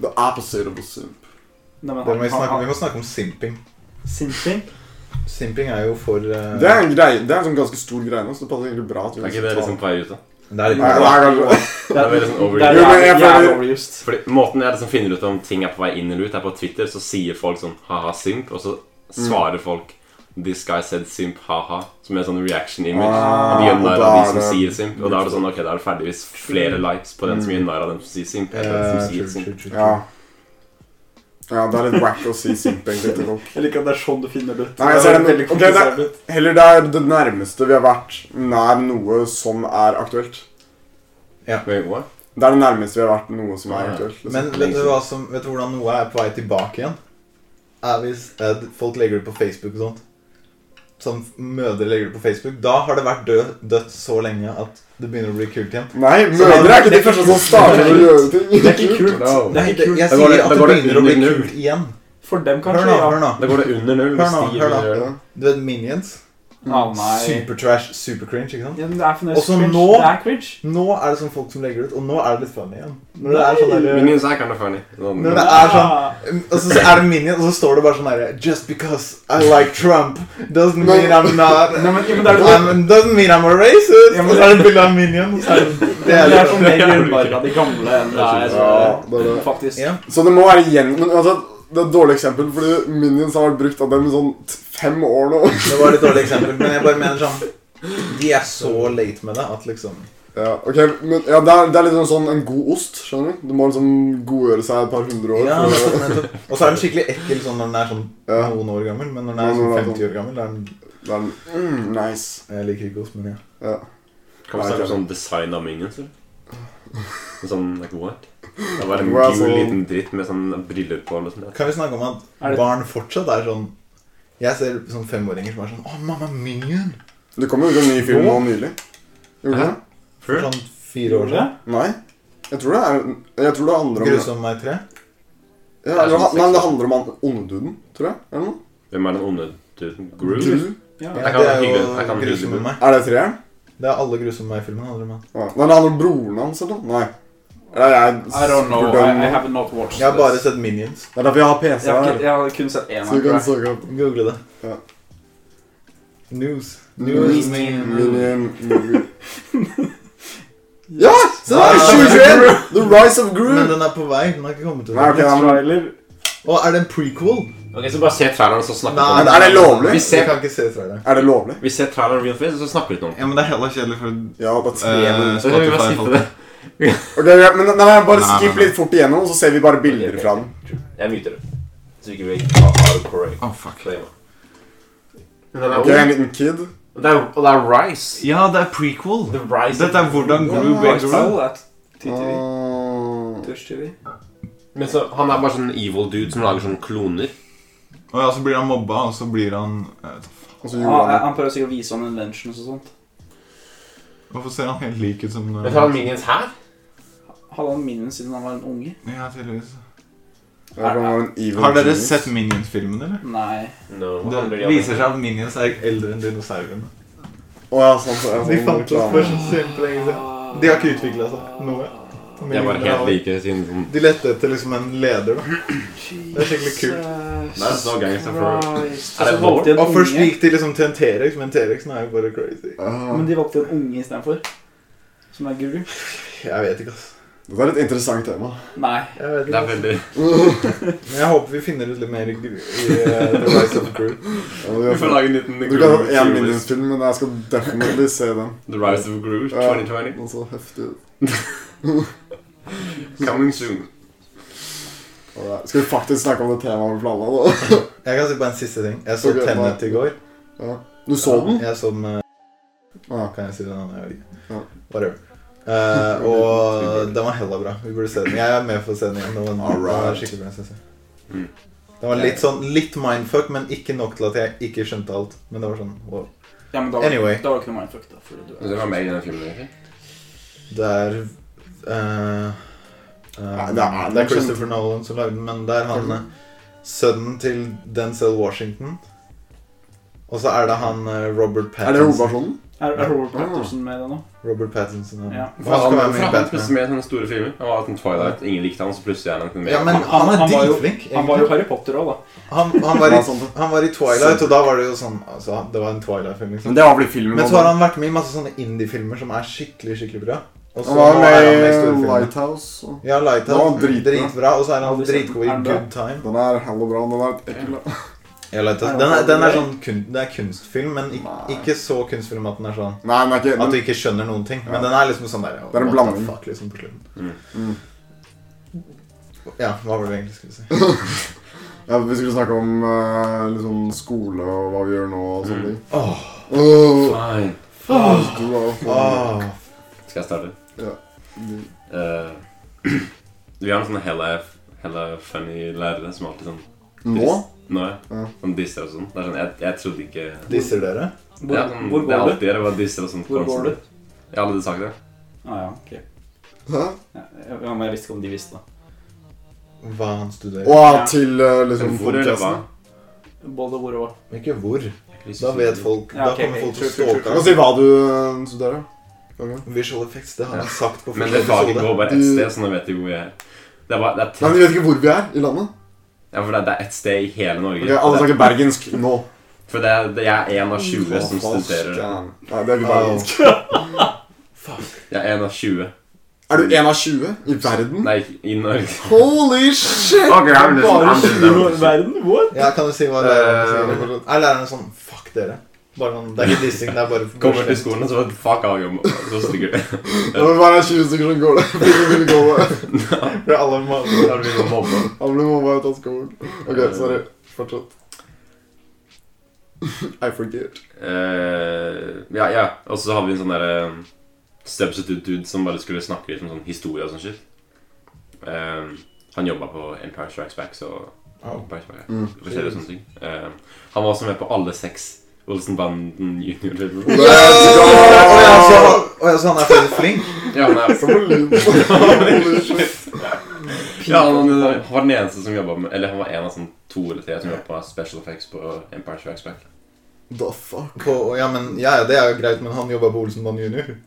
Speaker 6: Det er på Zero på Simp.
Speaker 5: Nei, men
Speaker 2: Det må vi,
Speaker 5: han-
Speaker 2: snakke,
Speaker 5: han-
Speaker 2: vi må snakke om simping.
Speaker 5: Simping?
Speaker 2: Simping er jo for eh,
Speaker 6: Det er en greie, det er en sånn ganske stor greie nå, så det passer egentlig bra. at vi
Speaker 4: Er ikke det
Speaker 6: tar-
Speaker 4: liksom på vei ut, da?
Speaker 2: det er litt
Speaker 6: Nei, det er kanskje-
Speaker 5: Det
Speaker 4: er
Speaker 5: er
Speaker 4: veldig sånn over-
Speaker 5: det er
Speaker 6: Jo, men jeg
Speaker 5: jævlig- jævlig
Speaker 6: føler-
Speaker 5: overused.
Speaker 4: Fordi Måten jeg liksom finner ut om ting er på vei inn eller ut, er på Twitter. Så sier folk sånn ha-ha, simp, og så svarer folk This guy said simp, ha-ha. Som er en sånn reaction image.
Speaker 6: Ah,
Speaker 4: Og de gjør
Speaker 6: og
Speaker 4: narr
Speaker 6: da
Speaker 4: av de
Speaker 6: er
Speaker 4: som
Speaker 6: det-
Speaker 4: sier simp. Og da er det sånn, ok, da er det ferdigvis flere likes på den som gjør narr av den som sier simp.
Speaker 2: Eh,
Speaker 4: Eller den som
Speaker 2: true,
Speaker 4: sier simp.
Speaker 2: true, true,
Speaker 6: Ja.
Speaker 2: true.
Speaker 6: ja, det er litt wack å si Simp egentlig til folk.
Speaker 5: Jeg liker at det er sånn du finner det ut.
Speaker 6: Nei, jeg
Speaker 5: Det er
Speaker 6: ser den-
Speaker 5: veldig
Speaker 6: ok, det er-
Speaker 5: komplisert ut.
Speaker 6: Heller det er det nærmeste vi har vært nær noe som er aktuelt.
Speaker 4: Wait, what?
Speaker 6: Det er det nærmeste vi har vært noe som
Speaker 4: Ja,
Speaker 6: er
Speaker 4: ja.
Speaker 6: aktuelt. Liksom.
Speaker 2: Men vet du, hva som, vet du hvordan noe er på vei tilbake igjen? Er hvis eh, folk legger det på Facebook og sånt. Som mødre legger det på Facebook. Da har det vært død, dødt så lenge at det begynner å bli kult igjen.
Speaker 6: Nei, mødre er ikke de første som starter å gjøre ting.
Speaker 5: Det er ikke kult.
Speaker 4: No.
Speaker 5: Nei, det-
Speaker 2: jeg
Speaker 4: da går
Speaker 2: sier
Speaker 4: det-
Speaker 2: at
Speaker 4: da
Speaker 2: det
Speaker 4: går det
Speaker 2: begynner å bli
Speaker 4: under null.
Speaker 2: kult igjen.
Speaker 5: For dem, kanskje.
Speaker 2: Hør nå,
Speaker 5: ja.
Speaker 2: hør nå.
Speaker 4: Da går det under null.
Speaker 2: Hør nå,
Speaker 4: hvis de
Speaker 2: hør nå.
Speaker 4: gjør det.
Speaker 2: Du vet Minions?
Speaker 6: Mm.
Speaker 5: Å, Ah, nei.
Speaker 2: Supertrash, supercringe, ikke sant?
Speaker 5: Ja, men det er fremdeles
Speaker 2: Også
Speaker 5: cringe.
Speaker 2: nå-
Speaker 5: Det er cringe.
Speaker 2: Nå er det sånn folk som legger det ut, og nå er det litt funny igjen. Når det er sånn der,
Speaker 4: Minions er kind of funny. Sånn,
Speaker 2: Når det er sånn
Speaker 5: Ah.
Speaker 2: Og så er det Minion, og så står det bare sånn herre Just because I like Trump doesn't mean I'm not
Speaker 5: Nei, men, ja, men det er sånn-
Speaker 2: I'm, Doesn't mean I'm a racist!
Speaker 5: Ja, men-
Speaker 2: Og så er det bilde av Minion. og så er det-
Speaker 5: Det er, det er sånn
Speaker 4: det
Speaker 5: mer
Speaker 4: er jævlig
Speaker 5: grunnlag av de gamle enn det er eh,
Speaker 6: Ja, det er det.
Speaker 5: faktisk.
Speaker 2: Ja.
Speaker 6: Så det må være igjen Men altså, det er et dårlig eksempel, fordi Minions har vært brukt av dem i sånn t- fem år nå.
Speaker 2: Det var et dårlig eksempel, men jeg bare mener sånn De er så late med det at liksom
Speaker 6: Ja, ok, men ja, det, er, det er litt sånn, sånn en god ost, skjønner du? Du må liksom godgjøre seg et par hundre år.
Speaker 2: ja,
Speaker 6: for å-
Speaker 2: nettopp, nettopp. Og så er den skikkelig ekkel sånn når den er sånn
Speaker 6: Ja.
Speaker 2: noen år gammel, men når den er sånn 50 år gammel, da er den
Speaker 6: det er en, mm, nice.
Speaker 2: Jeg liker ikke ost, men ja.
Speaker 6: Ja.
Speaker 4: Kan vi snakke om sånn design av minions, eller? Sånn, like what? Det var en
Speaker 6: Wow,
Speaker 4: gul
Speaker 6: sånn-
Speaker 4: liten dritt med sånn briller på eller noe sånt.
Speaker 2: Kan vi snakke om at
Speaker 5: Er det-
Speaker 2: barn fortsatt er sånn Jeg ser sånn femåringer som er sånn Å, mamma, Minion!
Speaker 6: Det kom jo ut en ny film nå nylig. Gjorde det?
Speaker 2: For sånn fire år siden.
Speaker 6: Nei. Jeg tror det, er, jeg tror det handler om
Speaker 2: Grusom meg tre.
Speaker 6: Ja, eller, Nei, men det handler om han ondeduden, tror jeg. Eller noe?
Speaker 4: Hvem er den onde duden? Groove?
Speaker 6: Gru.
Speaker 5: Ja.
Speaker 2: Ja,
Speaker 4: Jeg kan
Speaker 2: det er
Speaker 4: hyggelig- jeg
Speaker 2: jo
Speaker 4: kan hyggelig
Speaker 2: grusom
Speaker 4: bli.
Speaker 2: meg.
Speaker 6: Er det treeren?
Speaker 2: Det er alle grusom meg-filmene handler om.
Speaker 6: Ja. Nei, det handler om broren hans, eller noe? Nei. Eller jeg
Speaker 5: I don't know. I,
Speaker 6: superdum.
Speaker 5: I have not watched
Speaker 2: Jeg har bare
Speaker 5: this.
Speaker 2: sett Minions.
Speaker 6: Det er derfor jeg har PC
Speaker 5: Jeg har, ikke,
Speaker 6: her.
Speaker 5: jeg har kun sett én.
Speaker 6: Så du kan
Speaker 5: her, tror jeg.
Speaker 6: søke opp
Speaker 2: Google det.
Speaker 6: Ja.
Speaker 2: News.
Speaker 6: News.
Speaker 2: Minion.
Speaker 6: Minion Movie. Ja! Se der!
Speaker 2: Ah.
Speaker 6: 2021! The Rise of
Speaker 2: Men
Speaker 6: Groove.
Speaker 2: den er på vei. Den har ikke kommet ut.
Speaker 6: Nei, ok, da, men,
Speaker 5: Trailer.
Speaker 2: Og er det en prequel?
Speaker 4: Ok, så bare se traileren, så snakker
Speaker 6: Nei,
Speaker 4: vi om
Speaker 6: det er det lovlig?
Speaker 4: Vi ser-
Speaker 2: Jeg kan ikke se traileren.
Speaker 6: eh, er det lovlig?
Speaker 4: Vi ser traileren real face, og så snakker vi litt om den.
Speaker 1: Ja, men det er heller kjedelig for
Speaker 6: Ja, det er tre
Speaker 1: Eh,
Speaker 6: minutter.
Speaker 4: Så kan vi bare
Speaker 1: Spotify,
Speaker 4: skippe det.
Speaker 6: Ok, ja, men nei, nei, bare
Speaker 1: Nei, nei,
Speaker 6: skip
Speaker 1: nei.
Speaker 6: litt fort igjennom, så ser vi bare bilder fra den.
Speaker 4: Jeg myter det. Så ikke vi har hardcore
Speaker 1: Oh, fuck.
Speaker 4: claim. Men den er
Speaker 6: Ok,
Speaker 4: ond.
Speaker 6: en liten kid.
Speaker 4: Og det er- Og det er Rise.
Speaker 1: Ja, det er prequel.
Speaker 4: The Rise.
Speaker 1: Dette er hvordan Gru ble Gru.
Speaker 5: Lifestyle at TTV.
Speaker 6: Ah.
Speaker 5: Twitch TV.
Speaker 4: Men så, han er bare sånn evil dude som lager sånne kloner.
Speaker 1: Og ja, så blir han mobba, og så blir han jeg vet da faen.
Speaker 6: Og så
Speaker 5: Ja,
Speaker 6: gjorde han det.
Speaker 5: Ah, han prøver sikkert å vise han inventions og sånt.
Speaker 2: Hvorfor ser han helt lik ut som
Speaker 3: Men tar han minions her?
Speaker 5: Hadde han minions siden han var en unge?
Speaker 2: Ja, tydeligvis.
Speaker 6: Det var
Speaker 5: ah,
Speaker 6: en evil
Speaker 2: Har dere
Speaker 6: genius.
Speaker 2: sett Minions-filmen, eller?
Speaker 5: Nei.
Speaker 4: No,
Speaker 2: Det viser seg at Minions er eldre enn dinosaurene.
Speaker 6: Å ja, sånn så er det sånn reklame.
Speaker 2: kjempelenge De har ikke utvikla seg noe.
Speaker 4: De er bare helt like siden sånn
Speaker 2: De lette etter liksom en leder, da. Det er skikkelig kult.
Speaker 4: Det er så gangster for
Speaker 5: Christ.
Speaker 4: Er det
Speaker 5: Altså, valgte de en
Speaker 2: Og først
Speaker 5: unge,
Speaker 2: gikk de liksom til en T-rex, men T-rexen er jo bare crazy.
Speaker 6: Ah,
Speaker 5: men de valgte en unge istedenfor. Som er guru.
Speaker 2: Jeg vet ikke, ass.
Speaker 6: Det er et interessant tema.
Speaker 5: Nei.
Speaker 2: Jeg vet
Speaker 4: Det
Speaker 2: ikke,
Speaker 4: er
Speaker 2: ass.
Speaker 4: veldig
Speaker 2: Men jeg håper vi finner ut litt mer i, gru- i eh, The Rise of the Crew.
Speaker 6: Ja, det er-
Speaker 4: lage en liten
Speaker 6: Du kan ha én minionsfilm, men jeg skal definitely se den.
Speaker 4: The Rise of Groove
Speaker 6: Ja,
Speaker 4: 2020.
Speaker 6: Den så heftig ut.
Speaker 4: Coming soon.
Speaker 6: Alright. Skal vi faktisk snakke om det temaet vi planla, da?
Speaker 2: Jeg kan si bare en siste ting. Jeg så
Speaker 6: Ok,
Speaker 2: Tenet i går.
Speaker 6: Du så den?
Speaker 2: Jeg så den eh,
Speaker 6: Ja.
Speaker 2: Kan jeg si den andre? Jeg vet
Speaker 6: Ja.
Speaker 2: ikke. Whatever. Eh, og den var hella bra. Vi burde se den. Jeg er med for å se den igjen. Den var, den var
Speaker 6: Alright.
Speaker 2: skikkelig bra, synes jeg.
Speaker 4: Mm.
Speaker 2: Den var litt sånn litt mindfuck, men ikke nok til at jeg ikke skjønte alt. Men det var sånn wow.
Speaker 5: Ja, men da,
Speaker 2: Anyway.
Speaker 5: da var det ikke noe mindfuck, da. Fordi du
Speaker 4: Det var meg i den filmen, egentlig.
Speaker 2: Det er eh, eh,
Speaker 6: Nei,
Speaker 2: det,
Speaker 6: det er-
Speaker 2: er, Christopher Nolan som lagde den, men det er han eh, sønnen til Denzel Washington. Og så er det han eh,
Speaker 6: Er
Speaker 2: Robert
Speaker 6: det
Speaker 2: Pattinson.
Speaker 6: hovedpersonen?
Speaker 5: Er, er Robert Patterson med i det nå?
Speaker 2: Robert Pattinson ja.
Speaker 5: Ja.
Speaker 2: Og
Speaker 4: Hvorfor
Speaker 2: Han
Speaker 4: han,
Speaker 2: skal være
Speaker 4: hvorfor
Speaker 2: med i Batman.
Speaker 4: er han plutselig med i sånne store filmer? Han var sånn Twilight, ingen likte han, så plutselig er han ikke med.
Speaker 2: Ja, men
Speaker 5: Han-
Speaker 2: han er
Speaker 5: han var jo-
Speaker 2: dritflink.
Speaker 5: Han var jo
Speaker 2: egentlig.
Speaker 5: Harry Potter òg, da.
Speaker 2: Han, han var i
Speaker 6: Ja, sånn.
Speaker 2: Han var i Twilight, og da var det jo sånn altså, Det var en Twilight-film, liksom.
Speaker 6: Men det var vel i filmen.
Speaker 2: Men så har
Speaker 6: han
Speaker 2: han vært med i masse sånne indie-filmer som er skikkelig skikkelig bra. Og så
Speaker 6: Han var
Speaker 2: nå er han med i
Speaker 6: med i
Speaker 2: storfilmer.
Speaker 6: Lighthouse. og-
Speaker 2: Ja,
Speaker 6: Han
Speaker 2: Lighthouse.
Speaker 6: var dritbra.
Speaker 2: Dritbra. Og så er han
Speaker 5: Aldri sett den.
Speaker 2: dritgod i
Speaker 5: Er den bra?
Speaker 2: Good Time.
Speaker 6: Den er hella bra. Den er et ekkel
Speaker 2: Ja, Lighthouse.
Speaker 5: Er den
Speaker 2: Den er, den er
Speaker 5: bra?
Speaker 2: sånn kun, det er kunstfilm, men ikke,
Speaker 6: Nei.
Speaker 2: ikke så kunstfilm at den er sånn
Speaker 6: Nei, den er ikke
Speaker 2: At du
Speaker 6: den,
Speaker 2: ikke skjønner noen ting. Men
Speaker 6: Ja.
Speaker 2: den er liksom sånn der
Speaker 6: Det er en
Speaker 2: what the
Speaker 6: blanding.
Speaker 2: Fuck, liksom, på slutten.
Speaker 4: Mm.
Speaker 6: Mm.
Speaker 2: Ja, hva var det vi egentlig skulle si?
Speaker 6: ja, Vi skulle snakke om eh, liksom skole og hva vi gjør nå og sånne
Speaker 4: Mm.
Speaker 6: ting.
Speaker 2: Åh,
Speaker 6: Åh,
Speaker 4: Fine.
Speaker 6: du er for-
Speaker 2: åh.
Speaker 4: Skal jeg starte?
Speaker 6: Ja.
Speaker 4: Eh, vi har en sånn hella, hella funny lærere som alltid sånn
Speaker 6: Nå?
Speaker 4: Nå, ja.
Speaker 6: Ja.
Speaker 4: Sånn disser og sånn. Det er sånn, jeg, jeg trodde ikke
Speaker 2: Disser dere?
Speaker 5: Hvor,
Speaker 4: ja, sånn,
Speaker 5: hvor
Speaker 4: det
Speaker 5: går
Speaker 4: er
Speaker 5: du?
Speaker 4: alltid det var disser og sånn.
Speaker 5: Hvor går du?
Speaker 4: Jeg har allerede sagt det.
Speaker 5: Ah, ja, ok.
Speaker 6: Hæ?
Speaker 5: Ja, jeg- ja, men jeg visste ikke om de visste det.
Speaker 2: Hva han studerer?
Speaker 6: Og til eh,
Speaker 2: sånn
Speaker 6: liksom
Speaker 4: Hvor eller hva?
Speaker 6: podcasten.
Speaker 5: Både hvor og hva.
Speaker 2: Ikke hvor.
Speaker 4: Jeg kan ikke
Speaker 2: Da
Speaker 4: si
Speaker 2: vet
Speaker 4: det.
Speaker 2: folk
Speaker 5: Ja,
Speaker 2: Da
Speaker 5: ok,
Speaker 2: kommer folk til å
Speaker 5: true, true, true,
Speaker 6: Du
Speaker 2: stalke
Speaker 6: kan si hva du eh, studerer. Okay.
Speaker 2: Visual effects, det har han sagt på
Speaker 4: Men
Speaker 2: første
Speaker 4: det faget
Speaker 2: episode.
Speaker 4: går bare ett sted, så nå vet de hvor jeg er. Det er bare, det er
Speaker 6: Nei, men
Speaker 4: tett.
Speaker 6: Vi vet ikke hvor vi er i landet.
Speaker 4: Ja, for det er- det er ett sted i hele Norge.
Speaker 6: Ok, Alle
Speaker 4: Det er-
Speaker 6: snakker bergensk nå.
Speaker 4: For det er, det, jeg er en av 20 som studerer.
Speaker 6: Faen. Nei, det er ikke bergensk.
Speaker 4: Jeg er en av 20.
Speaker 6: Er du en av 20 i verden?
Speaker 4: Nei, ikke i Norge.
Speaker 6: Holy shit!
Speaker 4: Ok, jeg vil liksom-
Speaker 5: Bare
Speaker 4: I'm
Speaker 5: sju
Speaker 4: down.
Speaker 5: i verden? What?
Speaker 2: Ja, kan du si hva læreren sier? Er læreren sånn Fuck dere. Bare sånn, Det er ikke dissing, det er bare
Speaker 4: Kommer til skolen, så bare, fuck av jobb. Så stikker du.
Speaker 6: Det var bare 20 stykker som går der. Vil- vil gå der.
Speaker 2: For alle må-
Speaker 4: Da blir det mobba.
Speaker 6: Han ble mobba ut av skolen. Ok,
Speaker 4: Eh.
Speaker 6: sorry. Fortsett. I forget.
Speaker 4: Eh, ja, ja. Og så hadde vi en sånn derre substitute dude som bare skulle snakke litt om sånn historie og sånn shit. Eh, han jobba på Empire Strikes Back, så
Speaker 2: Au.
Speaker 4: Empire Strikes Back.
Speaker 6: Mm.
Speaker 4: forskjellige sånne ting. Eh, han var også med på alle seks Olsenbanden junior-filmer.
Speaker 6: Let's
Speaker 2: Å ja,
Speaker 6: go!
Speaker 2: så- å ja, så han er faktisk flink?
Speaker 4: Ja, han er-
Speaker 6: Så var det lyd. Holy shit.
Speaker 4: ja, han han var den eneste som jobba med Eller han var en av sånn to eller tre som jobba med special effects på Empire Strikes Back.
Speaker 6: The fuck?
Speaker 2: På, ja, men, ja, ja, det er jo greit, men han jobba på Olsenbanen junior.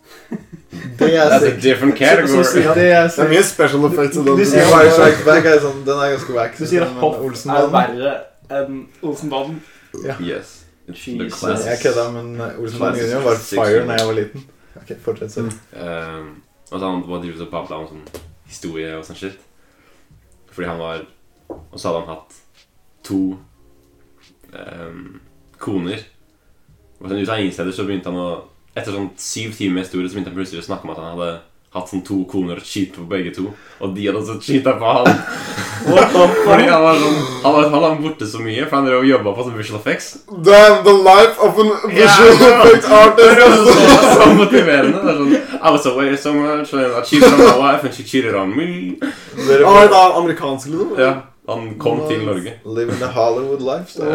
Speaker 2: Det er
Speaker 4: That's a
Speaker 2: sick.
Speaker 4: different category.
Speaker 2: Det er
Speaker 6: Det er
Speaker 2: sick.
Speaker 6: mye special effects i den.
Speaker 5: Du sier-
Speaker 2: Empire Strikes Back er sånn, den er ganske wack.
Speaker 5: Du sier at
Speaker 2: men
Speaker 5: hoff er
Speaker 2: Olsenbanen-
Speaker 5: verre enn Olsenbanen.
Speaker 4: Yes. It's the
Speaker 5: Jesus.
Speaker 4: class.
Speaker 2: Jeg kødda, men Olsenbanen junior Mm. var fire da jeg var liten. Ok, fortsett, sorry.
Speaker 4: Um, og så han bare driver og babla om sånn historie og sånn shit. Fordi han var Og så hadde han hatt to ehm, koner. Og sånn ut av ingen steder så begynte han å Etter sånn syv timer med historie så begynte han plutselig å snakke om at han hadde hatt sånn to koner og skyte på begge to. Og de hadde også skyta på han. Fordi han var sånn Han var, han var borte så mye, for han drev og jobba på sånn visual effects.
Speaker 6: Damn, the life of an visual
Speaker 4: Ja.
Speaker 6: effects
Speaker 4: Det er
Speaker 6: artist.
Speaker 4: så, så motiverende. Det er sånn I was away so much, and I cheated on my wife, and she cheated on me.
Speaker 2: Dere
Speaker 6: Å, det er amerikansk, liksom?
Speaker 4: Ja. Han kom til Norge.
Speaker 2: Living the Hollywood lifestyle.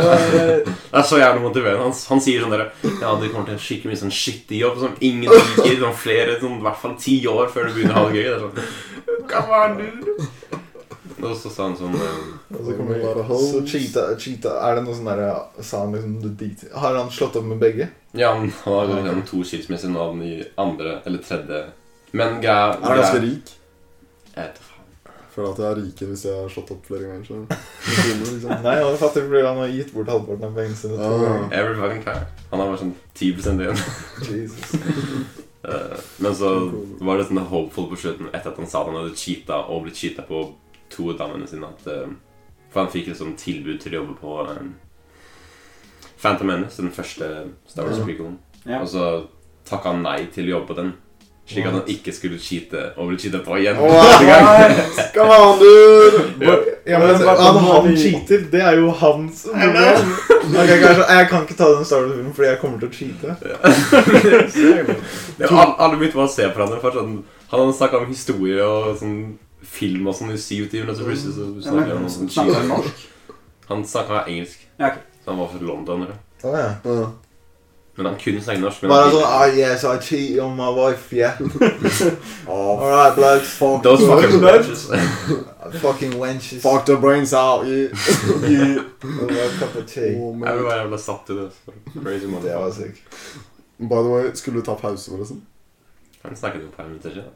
Speaker 4: Det er så jævlig motiverende. Han, han sier sånn derre Ja, du kommer til en skikkelig mye sånn skittig jobb som ingen liker, sånn flere, sånn i hvert fall ti år før du begynner å ha det gøy. Det er sånn Hva var du? Og så sa han sånn eh,
Speaker 2: Og så kommer det bare hoes. Så cheetah, cheetah Er det noe sånn derre Sa han liksom the detail? Har han slått opp med begge?
Speaker 4: Ja, han han har gått gjennom to skilsmisser nå, den i andre eller tredje Men greia
Speaker 6: Jeg er ganske rik.
Speaker 4: Jeg vet faen.
Speaker 6: Føler at jeg er rikere hvis jeg har slått opp flere ganger. Så. Liksom.
Speaker 2: Nei, han er fattig fordi han har gitt bort halvparten av pengene sine. to
Speaker 6: Ah.
Speaker 2: ganger.
Speaker 4: Every fucking time. Han har bare sånn 10 igjen.
Speaker 2: Jesus.
Speaker 4: Eh, Men så var det sånn hopeful på slutten etter at han sa at han hadde cheata og blitt cheata på to av damene sine. At, eh, for han fikk et sånt tilbud til å jobbe på eh, Phantom Menace, den første Star
Speaker 6: Ja.
Speaker 4: Wars-prequelen.
Speaker 5: Ja.
Speaker 4: Og så takka han nei til å jobbe på den, slik at han ikke skulle cheate og bli cheata på igjen. neste gang.
Speaker 6: What? Come on, dude!
Speaker 2: Ja, men
Speaker 6: Men hva-
Speaker 2: han, han
Speaker 6: hva-
Speaker 2: cheater. Det er jo hans problem. Ok, kanskje, jeg kan ikke ta den Star Wars-filmen fordi jeg kommer til å cheate.
Speaker 4: Det var, alle begynte bare å se på hverandre. For sånn, han hadde snakka om historie og sånn film og sånn i syv timer, og så plutselig så
Speaker 5: Ja,
Speaker 4: snakka han
Speaker 5: men
Speaker 4: om sånn
Speaker 5: Snakker
Speaker 4: cheating.
Speaker 5: han norsk?
Speaker 4: Han snakka engelsk,
Speaker 5: Ja, ok.
Speaker 4: så han var fra London. Eller?
Speaker 2: Oh, ja.
Speaker 6: Ja.
Speaker 4: Men han kunne snakke norsk. Men
Speaker 2: Bare
Speaker 4: han
Speaker 2: sånn ah, Yes, I cheat on my wife, yeah.
Speaker 6: Oh,
Speaker 2: All right, blokes. Fuck,
Speaker 4: Those fucking
Speaker 6: Nei.
Speaker 4: bitches.
Speaker 2: fucking wenches.
Speaker 6: fuck the brains out, you, you.
Speaker 2: Over a cup of tea.
Speaker 6: Oh,
Speaker 4: Jeg ble
Speaker 6: man.
Speaker 4: bare jævla satt i det. altså. Crazy man.
Speaker 2: Det altså var sykt.
Speaker 6: By the way, skulle du ta pause, forresten?
Speaker 4: Han snakket jo et par minutter siden.